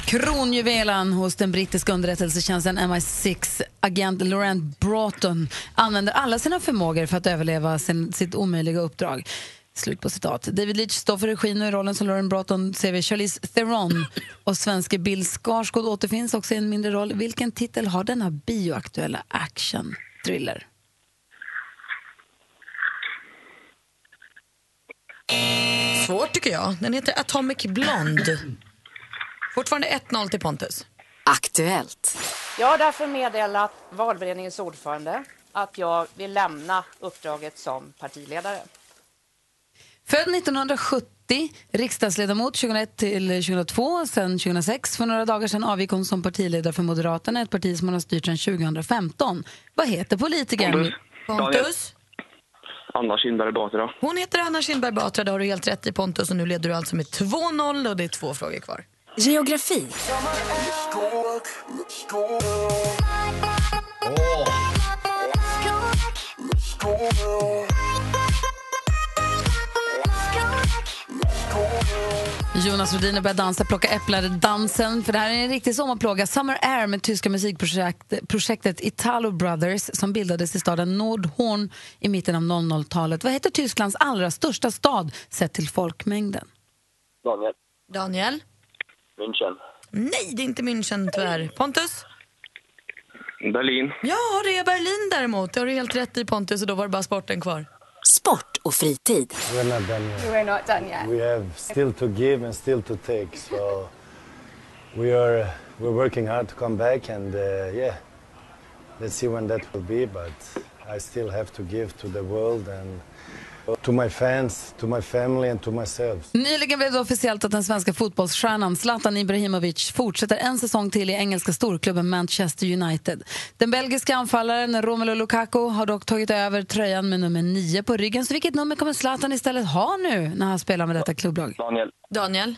A: Kronjuvelen hos den brittiska underrättelsetjänsten MI6, agent Laurent Broughton, använder alla sina förmågor för att överleva sin, sitt omöjliga uppdrag. Slut på citat. David Leitch står för regin och i rollen som Lauren Broughton ser vi Charlize Theron och svenske Bill Skarsgård återfinns också i en mindre roll. Vilken titel har denna bioaktuella action-thriller?
D: Svårt tycker jag. Den heter Atomic Blonde. Fortfarande 1-0 till Pontus.
E: Aktuellt.
P: Jag har därför meddelat valberedningens ordförande att jag vill lämna uppdraget som partiledare.
A: Född 1970, riksdagsledamot 2001 till 2002, sen 2006. För några dagar sedan avgick hon som partiledare för Moderaterna, ett parti som hon har styrt sedan 2015. Vad heter politikern?
K: Pontus.
D: Pontus?
K: Anna Kinberg Batra.
D: Hon heter Anna Kinberg Batra, det har du helt rätt i Pontus och nu leder du alltså med 2-0 och det är två frågor kvar.
E: Geografi.
A: Jonas Rhodiner börjar dansa Plocka äpplen-dansen. För det här är en riktig sommarplåga. Summer Air med tyska musikprojektet Italo Brothers som bildades i staden Nordhorn i mitten av 00-talet. Vad heter Tysklands allra största stad sett till folkmängden?
G: Daniel.
D: Daniel?
G: München.
D: Nej, det är inte München tyvärr. Pontus?
K: Berlin.
D: Ja, det är Berlin däremot. Det har du helt rätt i Pontus och då var det bara sporten kvar.
E: Sport och fritid.
Q: We're not done yet.
F: We're not done yet.
Q: We have still to give and still to take. So we are we're working hard to come back, and uh, yeah, let's see when that will be. But I still have to give to the world and to my fans, to my family, and to myself.
A: Nyligen blev det officiellt att den svenska fotbollsstjärnan Zlatan Ibrahimovic fortsätter en säsong till i engelska storklubben Manchester United. Den belgiska anfallaren Romelu Lukaku har dock tagit över tröjan med nummer 9 på ryggen. Så vilket nummer kommer Zlatan istället ha nu när han spelar med detta klubblag?
G: Daniel.
D: Daniel?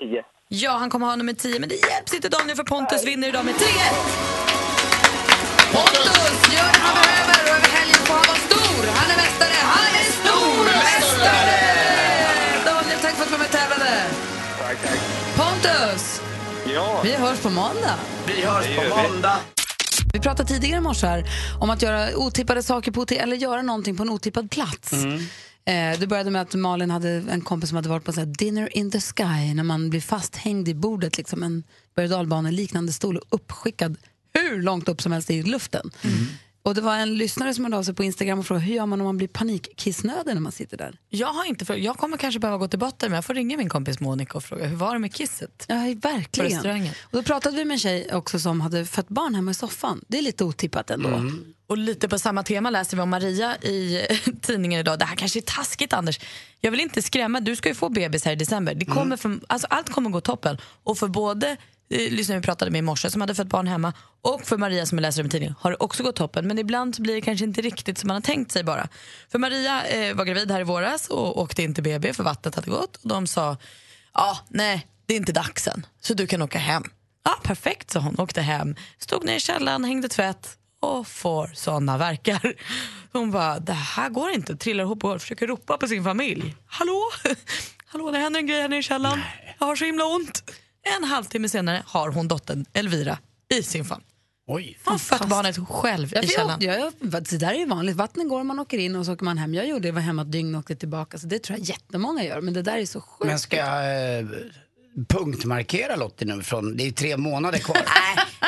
G: 10.
D: Ja, han kommer ha nummer 10, men det hjälps inte Daniel för Pontus vinner idag med 3
A: Pontus gör det han behöver och över helgen får han vara stor. Han är mästare, han är stormästare! Daniel, tack för att du var med och tävlade.
K: Tack, tack.
A: Pontus,
K: Ja.
A: vi hörs på måndag.
B: Vi hörs på måndag.
A: Vi pratade tidigare i morse här om att göra otippade saker på oti- eller göra någonting på en otippad plats.
B: Mm.
A: Eh, det började med att Malin hade en kompis som hade varit på så här dinner in the sky när man blir fasthängd i bordet, liksom en berg och liknande stol och uppskickad hur långt upp som helst i luften. Och det var en lyssnare som hörde av sig på Instagram och frågade hur gör man om man blir panikkissnödig när man sitter där?
D: Jag har inte frågat. Jag kommer kanske behöva gå till botten men jag får ringa min kompis Monica och fråga hur var det med kisset?
A: Ja,
D: På
A: verkligen.
D: restaurangen.
A: Och då pratade vi med en tjej också som hade fött barn hemma i soffan. Det är lite otippat ändå.
D: Och lite på samma tema läser vi om Maria i tidningen idag. Det här kanske är taskigt Anders. Jag vill inte skrämma, du ska ju få bebis här i december. Det kommer för, alltså, allt kommer gå toppen. Och för både eh, lyssnaren vi pratade med i morse som hade fött barn hemma och för Maria som jag läser om i tidningen har det också gått toppen. Men ibland så blir det kanske inte riktigt som man har tänkt sig bara. För Maria eh, var gravid här i våras och åkte in till BB för vattnet hade gått. Och de sa, ja nej det är inte dags än så du kan åka hem. Ja, perfekt, så hon. Åkte hem, stod ner i källaren, hängde tvätt och får såna verkar. Hon bara, det här går inte. Trillar ihop och försöker ropa på sin familj. Hallå? Hallå, det händer en grej här nere i källaren. Jag har så himla ont. En halvtimme senare har hon dottern Elvira i sin famn.
B: Oj.
D: Hon har fött barnet själv
A: Ja,
D: i
A: för
D: källaren.
A: jag, jag, det där är ju vanligt. Vattnet går, man åker in och så åker man hem. Jag gjorde det, var hemma ett dygn och åkte tillbaka. Så det tror jag jättemånga gör. Men det där är så sjukt.
B: Men ska jag eh, punktmarkera Lottie nu? Från, det är tre månader kvar.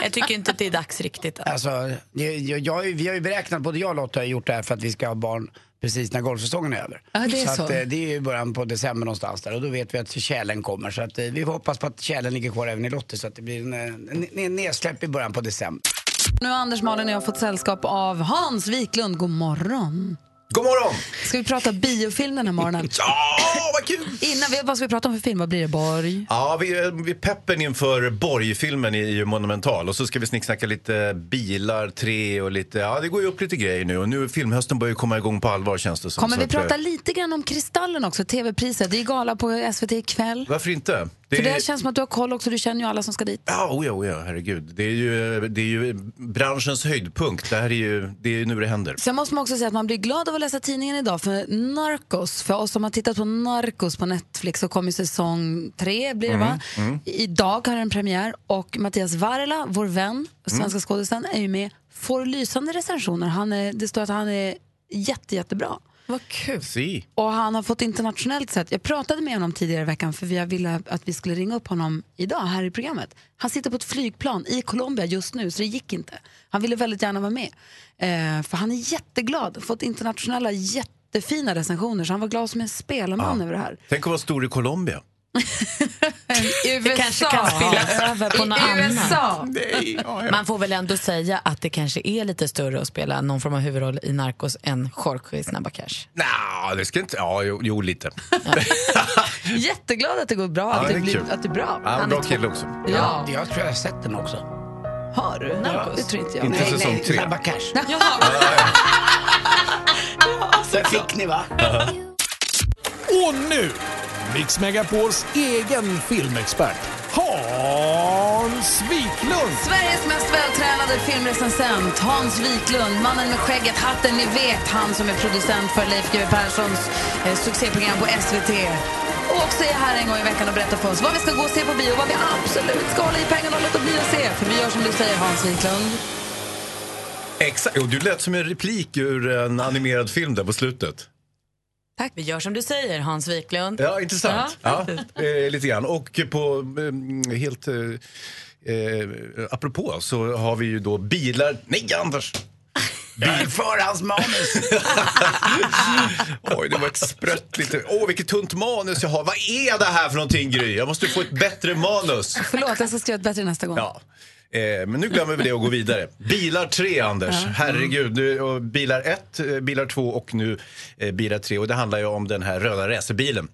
D: Jag tycker inte att det är dags riktigt.
B: Alltså, det, jag, jag, har ju- vi har ju beräknat, både jag och Lotta har gjort det här för att vi ska ha barn precis när golfsäsongen är över.
A: Ja, det är så.
B: Att, eh, det är ju början på december någonstans där och då vet vi att tjälen kommer. Så att, eh, vi får hoppas på att tjälen ligger kvar även i Lottie så att det blir en, eh, en, en nedsläpp i början på december.
A: Nu har Anders, Malin och jag fått sällskap av Hans Wiklund. God morgon.
B: God morgon!
A: Ska vi prata biofilm den här morgonen?
R: ja, vad kul!
A: Innan, vi- vad ska vi prata om för film? Vad blir det, Borg?
R: Ja, vi, vi peppen inför Borgfilmen i i Monumental och så ska vi snicksnacka lite bilar, tre och lite, ja det går ju upp lite grejer nu och nu filmhösten börjar ju komma igång på allvar känns det som.
A: Kommer
R: Så
A: vi
R: att, eh,
A: prata lite grann om Kristallen också, tv-priset? Det är gala på SVT ikväll.
R: Varför inte?
A: För det känns som att du har koll också, du känner ju alla som ska dit.
R: Ja, oja, oja, herregud. Det är, ju, det är ju branschens höjdpunkt. Det här är ju, det är ju nu det händer.
A: Sen måste man också säga att man blir glad av att läsa tidningen idag för Narcos, för oss som har tittat på Narcos på Netflix så kommer säsong tre blir det va?
R: Mm, mm.
A: Idag har den premiär och Mattias Varela, vår vän, svenska
R: Mm.
A: skådisen, är ju med. Får lysande recensioner. Han är, det står att han är jätte, jättebra.
D: Vad kul.
R: Si.
A: Och han har fått internationellt sett, jag pratade med honom tidigare i veckan för jag ville att vi skulle ringa upp honom idag här i programmet. Han sitter på ett flygplan i Colombia just nu så det gick inte. Han ville väldigt gärna vara med. Eh, för han är jätteglad, fått internationella jättefina recensioner så han var glad som en spelman över det här.
R: Tänk att vara stor i Colombia.
D: Det kanske kan spillas över på något annat.
R: Nej, ja, ja.
D: Man får väl ändå säga att det kanske är lite större att spela någon form av huvudroll i Narcos än Jorge i Snabba Cash.
R: Nja, det ska inte... Ja, jo, jo lite.
A: Jätteglad att det går bra, att,
R: Ja,
A: det,
R: det är
A: blir,
R: kul.
A: att det är bra.
R: Ja,
A: Han
R: bra
A: är två-
R: kille också.
A: Ja.
B: Jag tror jag har sett den också.
A: Har du? Det tror inte jag.
R: Inte
B: nej,
R: säsong
B: nej,
R: tre.
B: Snabba cash.
D: Jaha.
B: Där fick ni va?
L: Och nu, Mix Megapols egen filmexpert, Hans Wiklund!
A: Sveriges mest vältränade filmrecensent Hans Wiklund, mannen med skägget, hatten, ni vet han som är producent för Leif GW Perssons eh, succéprogram på SVT. Och också är här en gång i veckan och berättar för oss vad vi ska gå och se på bio, vad vi absolut ska hålla i pengarna och låta bli att se. För vi gör som du säger Hans Wiklund.
R: Exakt. Och du lät som en replik ur en animerad film där på slutet.
D: Tack. Vi gör som du säger, Hans Wiklund.
R: Ja, intressant.
D: Ja,
R: Ja,
D: faktiskt.
R: eh, lite grann. Och på, eh, helt eh, eh, apropå, så har vi ju då bilar... Nej, Anders! Bil...
B: Förhandsmanus.
R: Oj, det var ett sprött lite... Åh, vilket tunt manus jag har. Vad är det här för någonting, Gry? Jag måste få ett bättre manus.
A: Förlåt, jag ska skriva ett bättre nästa gång.
R: Ja. Eh, men nu glömmer vi det och går vidare. Bilar 3, Anders.
A: Ja.
R: Herregud. Nu, och bilar 1, eh, bilar 2 och nu eh, bilar 3. Och det handlar ju om den här röda racerbilen.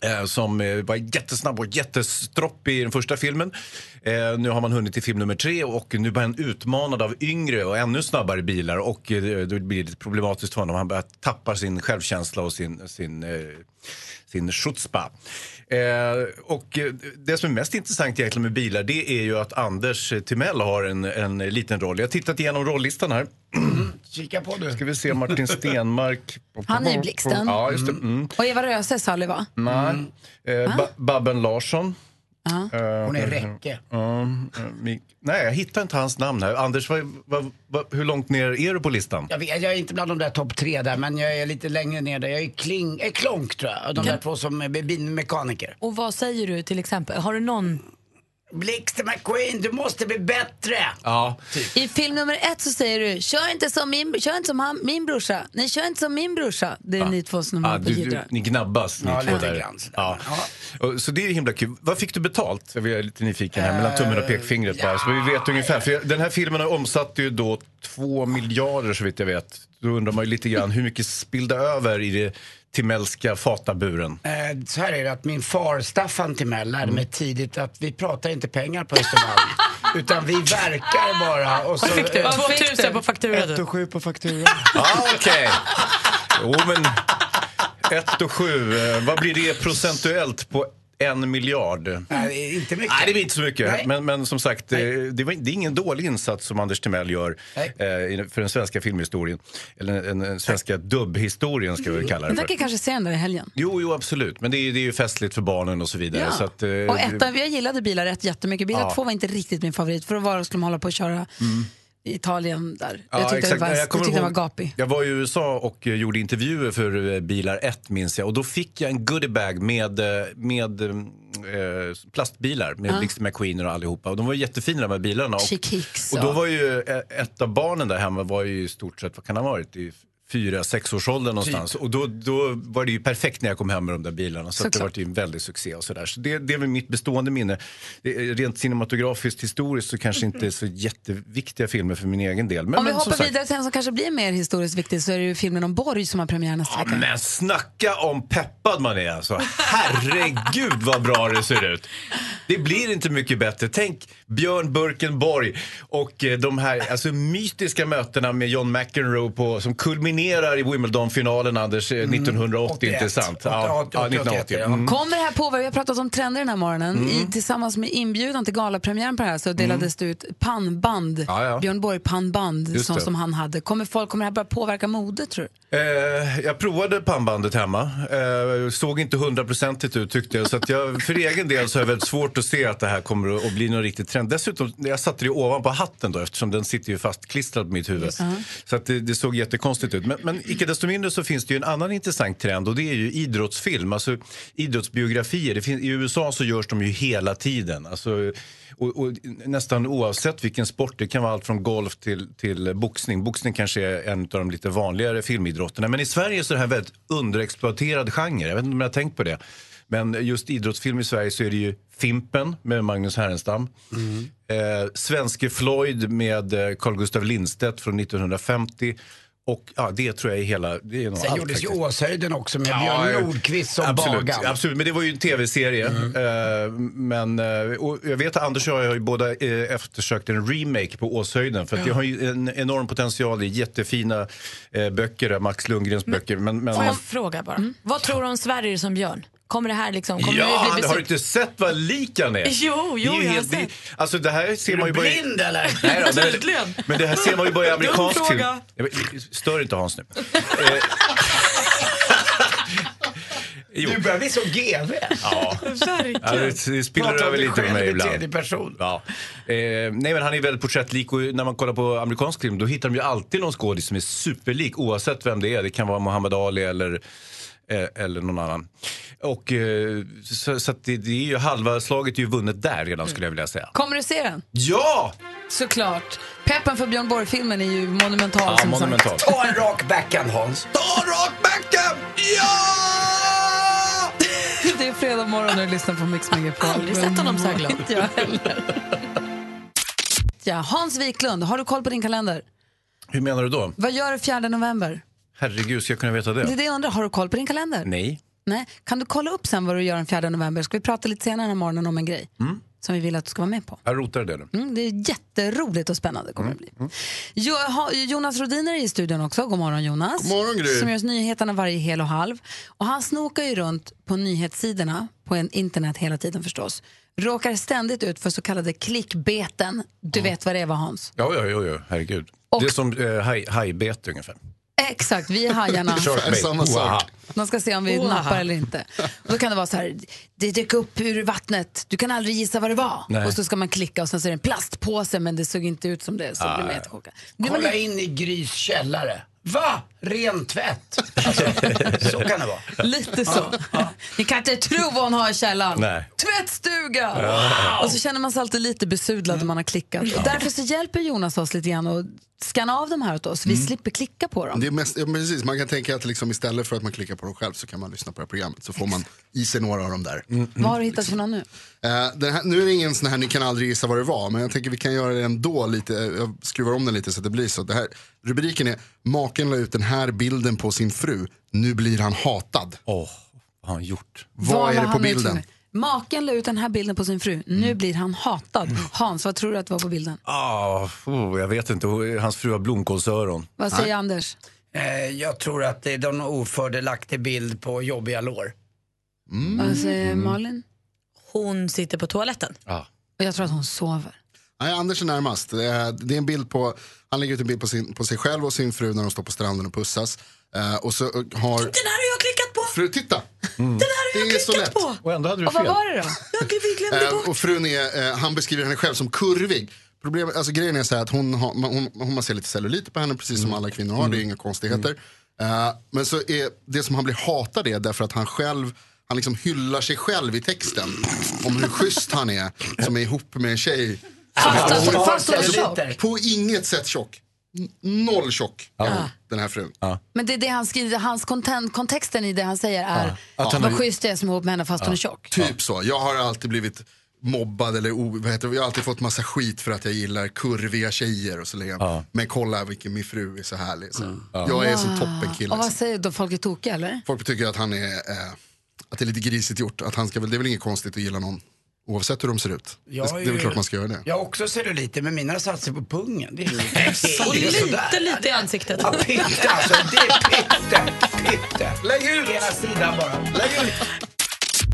R: Eh, som eh, var jättesnabb och jättestroppig i den första filmen. Eh, nu har man hunnit till film nummer tre och nu blir han utmanad av yngre och ännu snabbare bilar. Och eh, då blir det lite problematiskt för honom. Han börjar tappa sin självkänsla och sin, sin, eh, sin chutzpa. Eh, och eh, det som är mest intressant egentligen med bilar det är ju att Anders Timell har en, en liten roll. Jag har tittat igenom rollistan här.
B: Kika på du.
R: Ska vi se Martin Stenmark.
A: Han är i Blixten. Mm.
R: Ja, just det. Mm.
A: Och Eva Röse är Sally va?
R: Nej. Eh, ba- Babben Larsson. Eh,
A: Hon är Räcke.
R: ja, eh, Mik- Nej, jag hittar inte hans namn här. Anders, vad, vad, vad, hur långt ner är du på listan?
B: Jag, vet, jag är inte bland de där topp tre där, men jag är lite längre ner där. Jag är kling, eh, klonk tror jag. De där två som är bilmekaniker.
D: Och vad säger du till exempel? Har du någon
B: Blixte McQueen, du måste bli bättre!
R: Ja.
A: I film nummer ett så säger du kör inte som min, kör inte som han, min brorsa. Nej, kör inte som min brorsa. Det är ni två som
R: Ah,
A: har
R: du, du,
A: ah,
R: ni gnabbas ni
B: Ja,
R: två
B: lite
R: där.
B: grann
R: Ja. Och- Så det är himla kul. Vad fick du betalt? Jag är lite nyfiken här, mellan tummen och pekfingret bara. Så vi vet ungefär. För jag- den här filmen har omsatt ju då två miljarder så vitt jag vet. Då undrar man ju lite grann hur mycket spillde över i det timelska fataburen?
B: Eh, Så här är det att min far Staffan Timell lärde
R: Mm.
B: mig tidigt att vi pratar inte pengar på Östermalm. utan vi verkar bara. Och så,
D: Vad fick du?
B: eh,
D: 2000 på fakturan.
B: Ett och sju på fakturan.
R: Ja, okej. Jo, men 1 och 7. Vad blir det procentuellt på en miljard?
B: Nej, det är inte mycket.
R: Nej, det blir inte så mycket.
B: Nej.
R: Men, men som sagt, eh, det, var, det är ingen dålig insats som Anders Timell gör eh, i- för den svenska filmhistorien. Eller den- den svenska dubbhistorien, ska vi kalla
A: Den
Q: Mm.
A: där kan
R: det
A: jag
R: för.
A: kanske se den där i helgen.
R: Jo, jo, absolut. Men det är, det är ju festligt för barnen och så vidare.
A: Ja.
R: Så att, eh,
A: Och ettan, jag gillade bilar ett jättemycket. Bilar
R: Ja.
A: två var inte riktigt min favorit. För att vara skulle man hålla på och köra
R: Mm.
A: i Italien där.
R: Ja,
A: jag tyckte,
R: exakt.
A: det var,
R: Nej,
A: jag
R: jag kommer
A: tyckte den
R: ihåg-
A: var gapig.
R: Jag var i USA och eh, gjorde intervjuer för eh, Bilar 1 minns jag. Och då fick jag en goodiebag med, eh, med mm, eh, plastbilar med
A: Ja.
R: Blixten McQueen och allihopa. Och de var ju jättefina de här bilarna.
A: Chick
R: Och,
A: Hicks.
R: och då
A: ja.
R: var ju eh, ett av barnen där hemma var ju i stort sett, vad kan han ha varit? I fyra, sexårsåldern någonstans.
A: Typ.
R: Och då, då var det ju perfekt när jag kom hem med de där bilarna. Så att det
A: Såklart.
R: var ju en väldig succé och sådär. Så det, det är väl mitt bestående minne. Det är- Rent cinematografiskt historiskt så kanske inte så jätteviktiga filmer för min egen del. Men,
A: Om vi
R: men, som
A: hoppar
R: sagt,
A: vidare till en som kanske blir mer historiskt viktig så är det ju filmen om Borg som har premiär nästa
R: Ja,
A: vecka.
R: men snacka om peppad man är alltså. Herregud vad bra det ser ut. Det blir inte mycket bättre. Tänk Björn Burkenborg och eh, de här alltså, mytiska mötena med John McEnroe på, som kulminerar i Wimbledon-finalen, Anders,
A: Mm,
R: eh, 1980, inte
B: 81.
R: sant? Ja,
B: 80,
R: ja, 1980.
B: ja.
R: Mm.
A: Kommer det här påverka, vi har pratat om trender den här morgonen,
R: Mm.
A: I, tillsammans med inbjudan till galapremiären på det här så delades det ut pannband,
R: Ja, ja.
A: Björn Borg-pannband
R: Just
A: som,
R: det.
A: som han hade. Kommer, folk, kommer det här börja påverka mode tror du?
R: Eh, jag provade pannbandet hemma. Eh, såg inte hundraprocentigt ut tyckte jag. Så att jag, för egen del så är det väldigt svårt att se att det här kommer att- att bli någon riktig trend. Dessutom, jag satte det ovanpå hatten då eftersom den sitter ju fastklistrad på mitt huvud.
A: Just det.
R: Så att det, det såg jättekonstigt ut. Men, men icke desto mindre så finns det ju en annan intressant trend och det är ju idrottsfilm, alltså idrottsbiografier. Det fin- I USA så görs de ju hela tiden. Alltså, och, och nästan oavsett vilken sport, det kan vara allt från golf till, till boxning. Boxning kanske är en av de lite vanligare filmidrotterna. Men i Sverige så är det här en väldigt underexploaterad genre. Jag vet inte om jag har tänkt på det. Men just idrottsfilm i Sverige så är det ju Fimpen med Magnus Härenstam.
B: Mm.
R: Eh, Svenske Floyd med eh, Carl Gustav Lindstedt från 1950. Och ja, det tror jag är hela... Det är nog
B: Sen
R: allt
B: gjordes ju
R: faktiskt.
B: Åshöjden också med
R: Ja,
B: Björn
R: eh,
B: Nordqvist som
R: absolut,
B: Bagan.
R: Absolut, men det var ju en tv-serie.
S: Mm.
R: Eh, men, eh, och jag vet att Anders och jag har ju båda eh, eftersökt en remake på Åshöjden. För att
A: Ja.
R: det har ju en enorm potential i jättefina eh, böcker, där, Max Lundgrens böcker. Men, men,
S: Får jag fråga bara?
A: Mm.
S: Vad tror du om Sverige som Björn? Kommer det här liksom... Kommer
R: ja,
S: det bli
R: har du
S: besök?
R: inte sett vad lik han är?
S: Jo, jo,
R: det är
S: jag
R: ju
S: har
R: helt, det-
S: sett.
R: Alltså det här ser
S: Är
R: man
S: du
R: ju bara...
S: blind,
R: eller? Nej, då, det,
S: Tydligen.
R: men det här ser man ju bara i
S: Dum
R: amerikansk film.
S: fråga.
R: Jag vet- Stör inte Hans nu.
B: Du börjar bli så GV.
R: Ja. Ja, det, det spiller
B: Prata om
R: över
B: dig
R: lite med
B: själv
R: mig
B: i
R: ibland.
B: tredje person.
R: Ja. Eh, nej, men han är väldigt porträttlik och när man kollar på amerikansk film då hittar de ju alltid någon skådis som är superlik oavsett vem det är. Det kan vara Muhammad Ali eller eh, eller någon annan. Och, eh, så så att det, det är ju halva slaget är ju vunnet där redan skulle jag vilja säga.
A: Kommer du se den?
R: Ja!
A: Såklart. Peppen för Björn Borg-filmen är ju monumental
R: Ja,
A: som
R: monumental.
A: sagt.
B: Ta en rak backhand Hans.
A: Det är fredag morgon och du lyssnar på Mix Megapol.
S: Aldrig sett honom så här glad.
A: Inte jag heller. Ja, Hans Wiklund, har du koll på din kalender?
R: Hur menar du då?
A: Vad gör du 4 november?
R: Herregud, ska jag kunna veta det?
A: Det är det jag undrar, har du koll på din kalender?
R: Nej.
A: Nej. Kan du kolla upp sen vad du gör den 4 november? Ska vi prata lite senare den här morgonen om en grej
R: Mm?
A: som vi vill att du ska vara med på?
R: Jag rotar det nu.
A: Mm, det är jätteroligt och spännande
I: Mm.
A: kommer det bli. Jo, ha- Jonas Rodiner är i studion också. God morgon Jonas.
I: God morgon, Gry.
A: Som gör oss nyheterna varje hel och halv. Och han snokar ju runt på nyhetssidorna på en internet hela tiden förstås. Råkar ständigt ut för så kallade klickbeten. Du vet vad det är va Hans?
R: Ja, ja, ja, ja. herregud. Det är som eh, haj- hajbete ungefär.
A: Exakt, vi är hajarna.
R: Sharkbait. Oaha.
A: Man ska se om vi
S: Wow.
A: nappar eller inte. Och då kan det vara så här, det dök upp ur vattnet, du kan aldrig gissa vad det var.
B: Nej.
A: Och så ska man klicka och sen så är det en plastpåse men det såg inte ut som det. Så
B: Ah,
A: blir man
B: ja.
A: jättechockad. Blir man
B: Kolla
A: lite-
B: in i Grys källare. Va? ren tvätt. Alltså, så kan det vara.
A: Lite så. Ni kan inte tro vad hon har i källaren.
B: Nej.
A: Tvättstuga!
B: Wow.
A: Och så känner man sig alltid lite besudlad när man har klickat.
I: Ja.
A: Därför så hjälper Jonas oss lite grann och skanna av de här åt oss. Vi
I: Mm.
A: slipper klicka på dem.
I: Det är mest, ja, men precis, man kan tänka att liksom istället för att man klickar på dem själv så kan man lyssna på det här programmet så får man i sig några av dem där.
A: Vad har du hittat för någon nu?
I: Eh, den här, nu är det ingen sån här, ni kan aldrig gissa vad det var, men jag tänker vi kan göra det ändå lite, eh, jag skruvar om den lite så att det blir så. Det här, rubriken är, maken la ut den här bilden på sin fru, nu blir han hatad.
R: Åh, vad har han gjort?
I: Vad, är
A: la
I: det på
A: han ut
I: bilden? Mm.
A: för- Maken la ut den här bilden på sin fru. Nu blir han hatad. Hans, vad tror du att det var på bilden?
R: Ah, oh, jag vet inte. Hans fru har blomkålsöron.
A: Vad säger Anders?
B: Eh, jag tror att det är någon ofördelaktig bild på jobbiga lår.
R: Mm.
A: Mm. Vad säger Malin?
D: Hon sitter på toaletten.
A: Och jag tror att hon sover.
I: Nej, Anders är närmast. Det är det är en bild på, han lägger ut en bild på, sin, på sig själv och sin fru när de står på stranden och pussas. Eh, och så eh, har... Den
D: här har jag klickat på!
I: Fru, titta!
R: Mm.
I: Den här har jag klickat på!
R: Och ändå hade
A: Och vad var det då?
I: Eh, och frun är, eh, han beskriver henne själv som kurvig. Problemet, alltså grejen är så här att hon, har, man, hon, hon man ser lite celluliter på henne precis som alla kvinnor har, det är inga konstigheter. Eh, men så är det som han blir hatad är därför att han själv han liksom hyllar sig själv i texten om hur schysst han är som är ihop med en tjej. som är-
A: Fast alltså,
I: Hon är-
A: fast hon är tjock.
I: på inget sätt tjock. N- Noll tjock är hon, den här frun.
A: Men det är det han skriver, hans content, kontexten i det han säger är
I: Ja. Att han
A: vad
I: har-
A: schysst jag är som är ihop med henne fast hon är tjock.
I: Typ så. Jag har alltid blivit mobbad eller o, vad heter det? jag har alltid fått massa skit för att jag gillar kurviga tjejer och så lägger jag, men kolla vilken min fru är så härlig. Så. Jag är som liksom.
A: Wow.
I: toppenkille.
A: Mm. Och vad
I: Så.
A: säger då? Folk är tokiga eller?
I: Folk tycker att han är, eh, att det är lite grisigt gjort. Att han ska, väl- det är väl inget konstigt att gilla någon oavsett hur de ser ut.
B: Jag
I: det,
B: är
I: det är väl
B: ju-
I: klart man ska göra det.
B: Jag har också celluliter, men mina satsar på pungen. Det är ju...
D: Och lite, lite i ansiktet.
B: Ja, pitta alltså. Det är pitte, pitte. Lägg ut! Ena sidan bara. Lägg ut!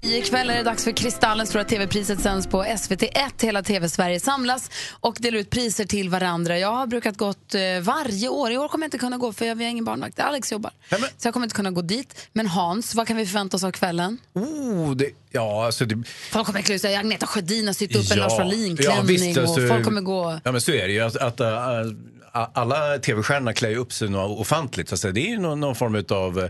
A: I kväll är det dags för Kristallen. Stora TV-priset sänds på SVT1. Hela TV-Sverige samlas och delar ut priser till varandra. Jag har brukat gått eh, varje år. I år kommer jag inte kunna gå för jag vi har ingen barnvakt. Alex jobbar. Så jag kommer inte kunna gå dit. Men Hans, vad kan vi förvänta oss av kvällen?
R: Oh, det, ja, alltså det,
A: Folk kommer klä ut sig. Agneta Sjödin har sytt upp en Lars
R: ja, visst,
A: Wallin-klänning.
R: alltså,
A: och folk kommer gå...
R: Ja, men så är det ju. Att, att, äh, äh, alla tv-stjärnorna klär ju upp sig något ofantligt. Så att säga. Det är ju någon, någon form av...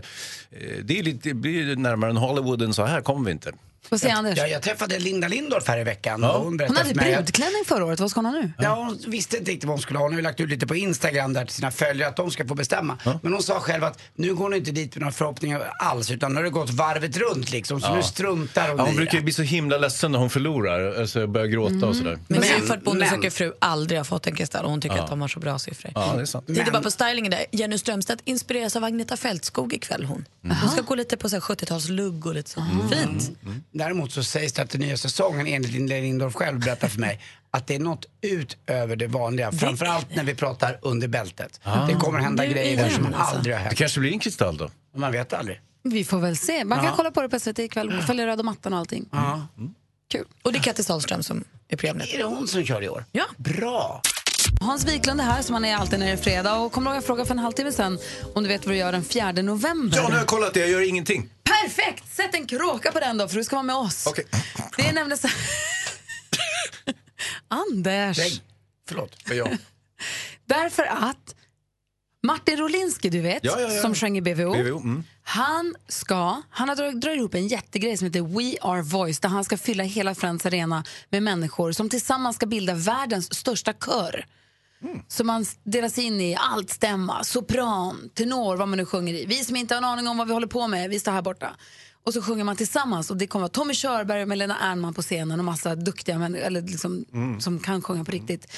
R: Det, är lite, det blir närmare en Hollywood än så här kommer vi inte.
A: Vad säger Anders?
B: Ja, jag träffade Linda Lindorff här i veckan.
R: Ja.
B: Och hon,
A: Hon
B: berättade
A: hade
B: för mig att-
A: brudklänning förra året. Vad ska hon ha nu?
B: Ja, hon visste inte riktigt vad hon skulle ha. Hon har ju lagt ut lite på Instagram där till sina följare att de ska få bestämma. Men hon sa själv att nu går hon inte dit med några förhoppningar alls utan nu har det gått varvet runt liksom. Så
R: Ja.
B: nu struntar hon
R: Ja, hon
B: i
R: brukar ju
B: det.
R: bli så himla ledsen när hon förlorar. Alltså börjar gråta
A: Mm.
R: och sådär.
D: Men det är ju för att Bonde
B: men-
D: söker fru aldrig har fått en kristall och hon tycker att de har så bra siffror.
R: Ja, det är sant.
D: Titta
R: Men-
D: bara på stylingen där. Jenny Strömstedt inspireras av Agneta Fältskog ikväll hon. Hon ska gå lite på så här 70-talslugg och lite så.
A: Mm.
D: Fint.
B: Mm. Däremot så sägs det att den nya säsongen enligt Linda Lindorff själv berättar för mig att det är något utöver det vanliga. Framförallt när vi pratar under bältet.
R: Ah.
B: Det kommer hända
R: Nu
B: grejer där
R: igen,
B: som
R: alltså.
B: aldrig har
R: Det
B: hänt.
R: kanske blir en kristall då?
B: Man vet aldrig.
A: Vi får väl se. Man kan
R: Ja.
A: kolla på det på SVT ikväll och följa röda mattan och allting.
R: Mm.
A: Kul.
D: Och det är Kattis Dahlström som är programledare.
B: Är det hon som kör i år?
D: Ja.
B: Bra!
A: Hans Wiklund är här som han är alltid när det är fredag. Och kommer du ihåg jag frågade för en halvtimme sedan om du vet vad du gör den 4 november?
R: Ja, nu har jag kollat det. Jag gör ingenting.
A: Perfekt! Sätt en kråka på den då för du ska vara med oss.
R: Okej.
A: Det är nämligen så Anders.
R: Nej.
B: Förlåt.
R: Ja.
A: Därför att Martin Rolinski, du vet,
R: Ja, ja, ja.
A: som sjöng i BVO.
R: BVO, mm.
A: Han ska, han har dragit drar ihop en jättegrej som heter We Are Voice där han ska fylla hela Friends Arena med människor som tillsammans ska bilda världens största kör. Så man delas in i altstämma, sopran, tenor, vad man nu sjunger i. Vi som inte har en aning om vad vi håller på med, vi står här borta. Och så sjunger man tillsammans och det kommer vara Tommy Körberg och Melena Ernman på scenen och massa duktiga män, eller liksom,
F: Mm.
A: som kan sjunga på riktigt.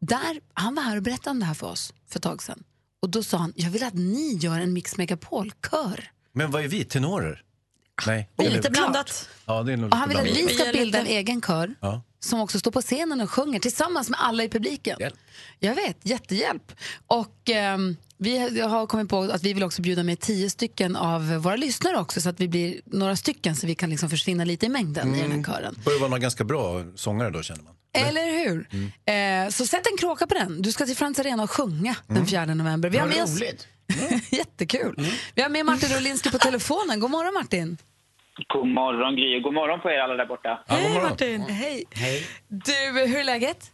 A: Där, han var här och berättade om det här för oss för ett tag sedan. Och då sa han, jag vill att ni gör en Mix Megapol-kör.
R: Men vad är vi? Tenorer?
B: Ah.
R: Nej.
A: Det är
R: eller-
A: lite blandat.
R: Ja, det är nog
A: Och han vill
R: lite
A: att vi
R: blandat.
A: ska bilda en egen kör
R: Ja.
A: som också står på scenen och sjunger tillsammans med alla i publiken. Jag vet, jättehjälp. Och ehm, vi har kommit på att vi vill också bjuda med tio stycken av våra lyssnare också så att vi blir några stycken så vi kan liksom försvinna lite i mängden i den
R: Mm.
A: här kören.
R: Börjar vara någon ganska bra sångare då, känner man.
A: Eller hur?
R: Mm.
A: Eh, så sätt en kråka på den. Du ska till Friends Arena och sjunga den 4 november. Vi har
R: Vad
A: med oss...
R: roligt. Mm.
A: Jättekul. Vi har med Martin Rolinski på telefonen. God morgon Martin.
K: God morgon Gry och god morgon på er alla där borta.
A: Hej Martin. Hej.
K: Hej.
A: Du, hur är läget?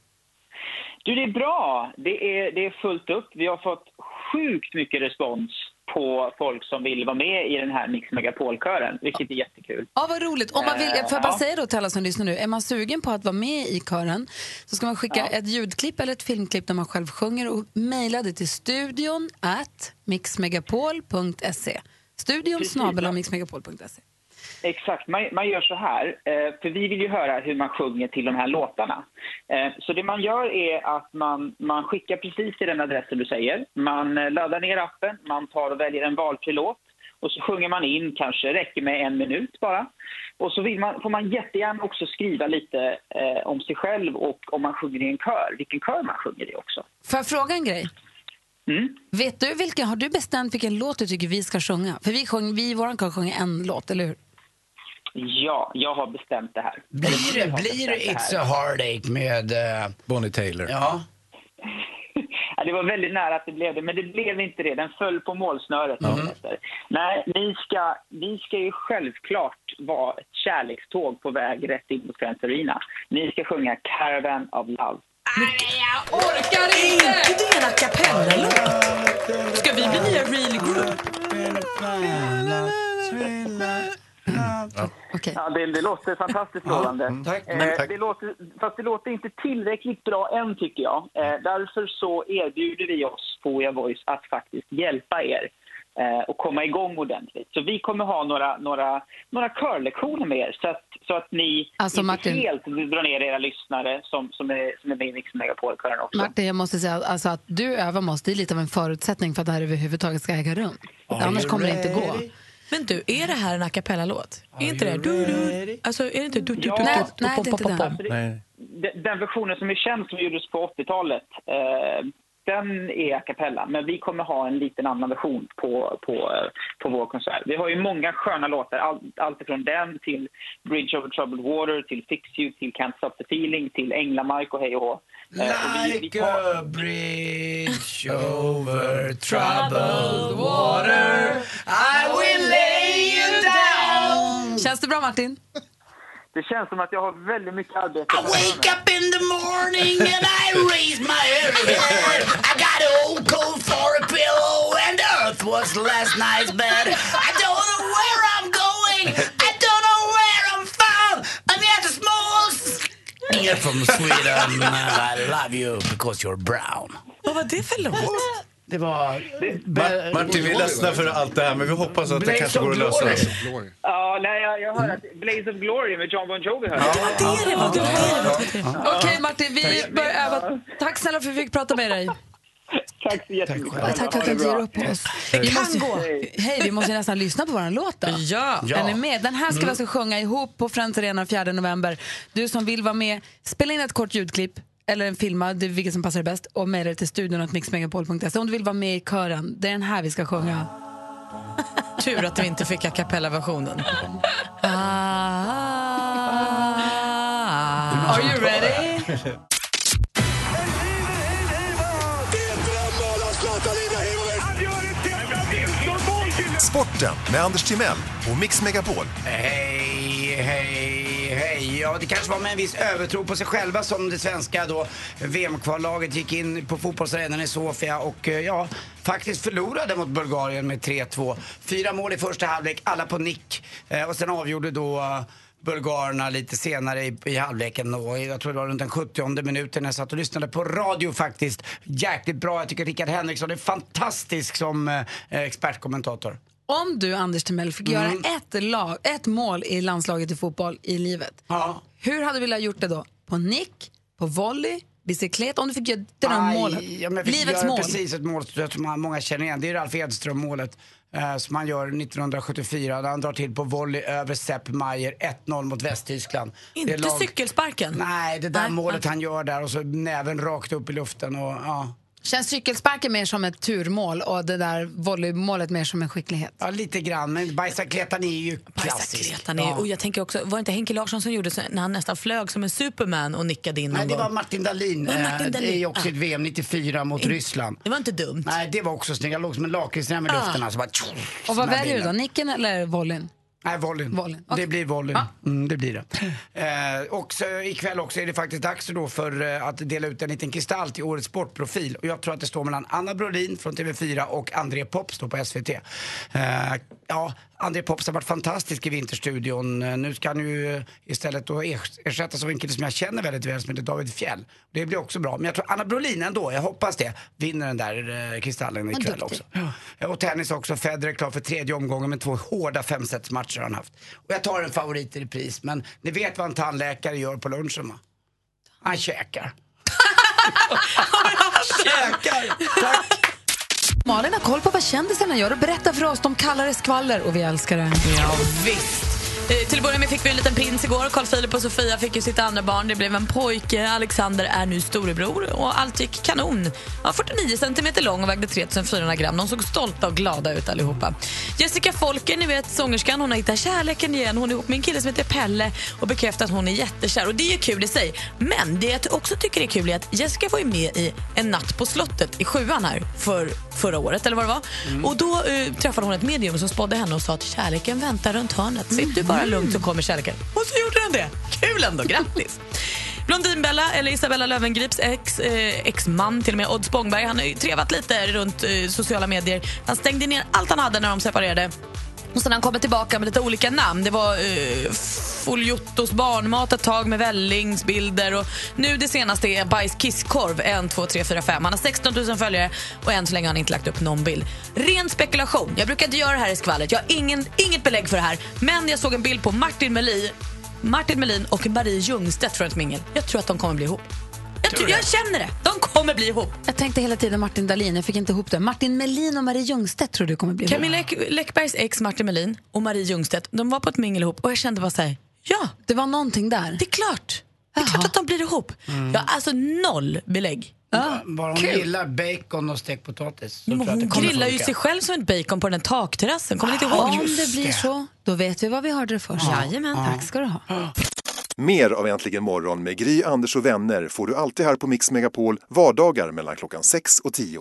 K: Du, det är bra. Det är, det är fullt upp. Vi har fått sjukt mycket respons på folk som vill vara med i den här Mix Megapol-kören, vilket är jättekul.
A: Ja, vad roligt. Om man vill,
K: Eh,
A: får jag bara
K: ja.
A: säga då till alla som lyssnar nu, är man sugen på att vara med i kören så ska man skicka ett ljudklipp eller ett filmklipp där man själv sjunger och mejla det till studion at mixmegapol.se. Studion
K: Precis.
A: snabel mixmegapol.se.
K: Exakt. Man, man gör så här, eh, för vi vill ju höra hur man sjunger till de här låtarna. Eh, Så det man gör är att man, man skickar precis till den adressen du säger. Man eh, laddar ner appen, man tar och väljer en valfri låt och så sjunger man in, kanske räcker med en minut bara. Och så vill man, får man jättegärna också skriva lite eh, om sig själv och om man sjunger i en kör, vilken kör man sjunger i också.
A: Får jag fråga en grej?
D: Mm.
A: Vet du vilken, har du bestämt vilken låt du tycker vi ska sjunga? För vi, sjöng, vi i vår kör sjunger en låt, eller hur?
K: Ja, jag har bestämt det här.
B: Blir det, blir det It's a heartache med... eh,
R: Bonnie Taylor.
B: Ja.
K: Ja, det var väldigt nära att det blev det, men det blev inte det. Den föll på målsnöret. som det heter. Nej, ni ska, ni ska ju självklart vara ett kärlekståg på väg rätt in mot Friends Arena. Ni ska sjunga Caravan of Love.
A: Jag orkar inte!
D: inte det en a cappella-låt? Ska vi bli nya real group?
K: Ja, det, det låter fantastiskt lovande.
A: Mm,
B: men
K: Eh,
B: tack.
K: Det låter, fast det låter inte tillräckligt bra än, tycker jag. Eh, därför så erbjuder vi oss på Oja Voice att faktiskt hjälpa er eh, och komma igång ordentligt. Så vi kommer ha några, några, några körlektioner med er så att, så att ni
A: Alltså,
K: inte
A: Martin-
K: helt drar ner era lyssnare som, som, är, som är med i Mix Megapol-kören också.
A: Martin, jag måste säga alltså, att du övar med oss, det är lite av en förutsättning för att det här överhuvudtaget ska äga rum.
D: Are
A: Annars
D: you
A: kommer det inte gå.
D: ready? Men du, är det här en a cappella-låt? Är inte det? Du, du, alltså, är det inte du, du, du, du,
K: Nej,
D: du,
K: nej,
D: pom,
K: det är
D: pom,
K: inte
D: pom, pom?
K: den. De- Den versionen som är känd som gjordes på 80-talet, eh, den är a cappella. Men vi kommer ha en liten annan version på, på, eh, på vår konsert. Vi har ju många sköna låtar, allt, allt från den till Bridge over troubled water, till Fix you, till Can't stop the feeling, till Änglamark och hej och hå. Eh, och vi- vi
B: Like
K: tar-
B: a bridge over troubled water I will lay you down
A: Känns det bra, Martin?
K: Det känns som att jag har väldigt mycket arbete.
B: Wake up in the morning and I raise my head. I got an old coat for a pillow and the earth was last night's bed. I don't know where I'm going. I don't know where I'm from. I'm yet a small here from Sweden and I love you because you're brown.
D: Vad var det för låt?
B: Det var...
R: Ma- Martin, vi är ledsna för allt det här, men vi hoppas att det
B: Blaze
R: kanske
B: of
R: går att lösa.
B: Glory.
K: Ja, nej, jag, jag hör att Blaze of Glory med John Bon Jovi hör jag.
A: Okej, Martin, vi börjar öva. Tack snälla för att vi fick prata med dig.
K: Tack så jättemycket.
A: Ja, tack för att du inte ger upp på oss. Vi
D: kan
A: måste,
D: gå.
A: Hej, vi måste ju nästan lyssna på vår låt då.
D: Ja.
A: Den är med. Den här ska vi
D: Mm.
A: alltså sjunga ihop på Friends Arena den 4 november. Du som vill vara med, spela in ett kort ljudklipp eller en filma, det är vilket som passar dig bäst och mejla det till studion att mixmegapol.se om du vill vara med i kören. Det är den här vi ska sjunga.
D: Tur att vi inte fick a cappella-versionen. Ah. Ah.
A: Are you ready?
F: Sporten med Anders Timell och Mix Megapol.
B: Hej, hej, hej. Ja, det kanske var med en viss övertro på sig själva som det svenska då VM-kvallaget gick in på fotbollsarenan i Sofia och eh, ja, faktiskt förlorade mot Bulgarien med 3-2. Fyra mål i första halvlek, alla på nick. Eh, Och sen avgjorde då eh, bulgarerna lite senare i, i halvleken och jag tror det var runt den 70 minuten jag satt och lyssnade på radio faktiskt. Jäkligt bra. Jag tycker Rickard Henriksson är fantastisk som eh, expertkommentator.
A: Om du, Anders Timell, fick
B: Mm.
A: göra ett, lag, ett mål i landslaget i fotboll i livet, hur hade du velat gjort det då? På nick, på volley, bicyklet? Om du fick göra det där
B: Aj,
A: målet,
B: Ja, men jag fick
A: livets
B: göra
A: mål.
B: precis ett mål som jag tror man- många känner igen. Det är Ralf Edström-målet eh, som han gör 1974. Där han drar till på volley över Sepp Maier. 1-0 mot Västtyskland. Det
D: Inte
B: är lag-
D: cykelsparken?
B: Nej, det där målet han gör där och så näven rakt upp i luften och ja.
A: Känns cykelsparken mer som ett turmål och det där volleymålet mer som en skicklighet?
B: Ja, lite grann. Men bajsakletan är ju klassisk.
D: Kletan är, och jag tänker också, var det inte Henke Larsson som gjorde så när han nästan flög som en superman och nickade in
B: Nej,
D: någon
B: det var
D: gång?
B: Martin Dahlin.
D: Var det
B: eh,
D: Martin
B: Det är
D: Dahlin?
B: ju
D: Ah.
B: också ett VM 94 mot Ryssland.
D: Det var inte dumt.
B: Nej, det var också snyggt. Jag låg som en lakritsrem i
A: Ah.
B: luften. Alltså, bara,
A: Och vad
B: Den här
A: väljer du då?
B: bilen.
A: Nicken eller volleyn?
B: Nej, volleyn.
A: Volleyn.
B: Det blir volleyn. Mm, det blir det. Eh, och så, ikväll också är det faktiskt dags då för eh, att dela ut en liten kristall till årets sportprofil. Och jag tror att det står mellan Anna Brolin från TV4 och André Pops då på SVT. Eh, ja, André Pops har varit fantastisk i Vinterstudion. Eh, nu ska han ju eh, istället då ers- ersättas av en kille som jag känner väldigt väl som heter David Fjell. Det blir också bra. Men jag tror Anna Brolin ändå, jag hoppas det, vinner den där eh, kristallen
A: Vad
B: ikväll
A: duktig.
B: också. Ja, Och tennis också. Federer är klar för tredje omgången med två hårda femsetsmatcher han haft. Och jag tar en favorit i repris, men ni vet vad en tandläkare gör på lunchen va? Han käkar. käkar! Tack!
A: Malin har koll på vad kändisarna gör och berättar för oss. De kallar det skvaller och vi älskar det.
D: Visst. Eh, Till att börja med fick vi en liten prins igår. Carl Philip och Sofia fick ju sitt andra barn. Det blev en pojke. Alexander är nu storebror och allt gick kanon. Han var 49 centimeter lång och vägde 3400 gram. De såg stolta och glada ut allihopa. Jessica Folker, ni vet sångerskan, hon har hittat kärleken igen. Hon är ihop med en kille som heter Pelle och bekräftar att hon är jättekär. Och det är ju kul i sig. Men det jag också tycker är kul är att Jessica var ju med i En natt på slottet i sjuan här för förra året eller vad det var. Och då eh, träffade hon ett medium som spådde henne och sa att kärleken väntar runt hörnet. Sitt du bara lugnt så kommer kärleken. Och så gjorde den det. Kul ändå, grattis! Blondinbella, eller Isabella Löwengrips ex, eh, ex-man, till och med Odd Spångberg, han har ju trevat lite runt eh, sociala medier. Han stängde ner allt han hade när de separerade. Och sen har han kommit tillbaka med lite olika namn. Det var eh, Foljottos barnmat ett tag med vällingsbilder. Och nu det senaste är Bajs kisskorv 1, 2, 3, 4, 5. Han har 16 000 följare och än så länge har han inte lagt upp någon bild. Ren spekulation. Jag brukar inte göra det här i skvallret. Jag har ingen, inget belägg för det här. Men jag såg en bild på Martin Melin, Martin Melin och Marie Ljungstedt från ett mingel. Jag tror att de kommer bli ihop. Jag, tror, jag känner det. De kommer bli ihop.
A: Jag tänkte hela tiden Martin Dahlin, jag fick inte ihop det. Martin Melin och Marie Ljungstedt tror du kommer bli ihop.
D: Camilla Läck- Läckbergs ex Martin Melin och Marie Ljungstedt, de var på ett mingel ihop och jag kände bara så här, ja.
A: Det var någonting där.
D: Det är klart. Det är klart att de blir ihop. Jag har alltså noll belägg.
B: Bara Mm. hon
D: Ah, kul.
B: gillar bacon och stekt potatis. så tror jag att det
D: Hon
B: kommer
D: grillar ju
B: funka.
D: sig själv som ett bacon på den här takterrassen. Kommer ni inte ihåg?
A: Om det blir så, då vet vi vad vi hörde det först.
D: Ja. Jajamän.
A: Tack ska du ha.
H: Mer av Äntligen morgon med Gry, Anders och vänner får du alltid här på Mix Megapol vardagar mellan klockan 6 och 10.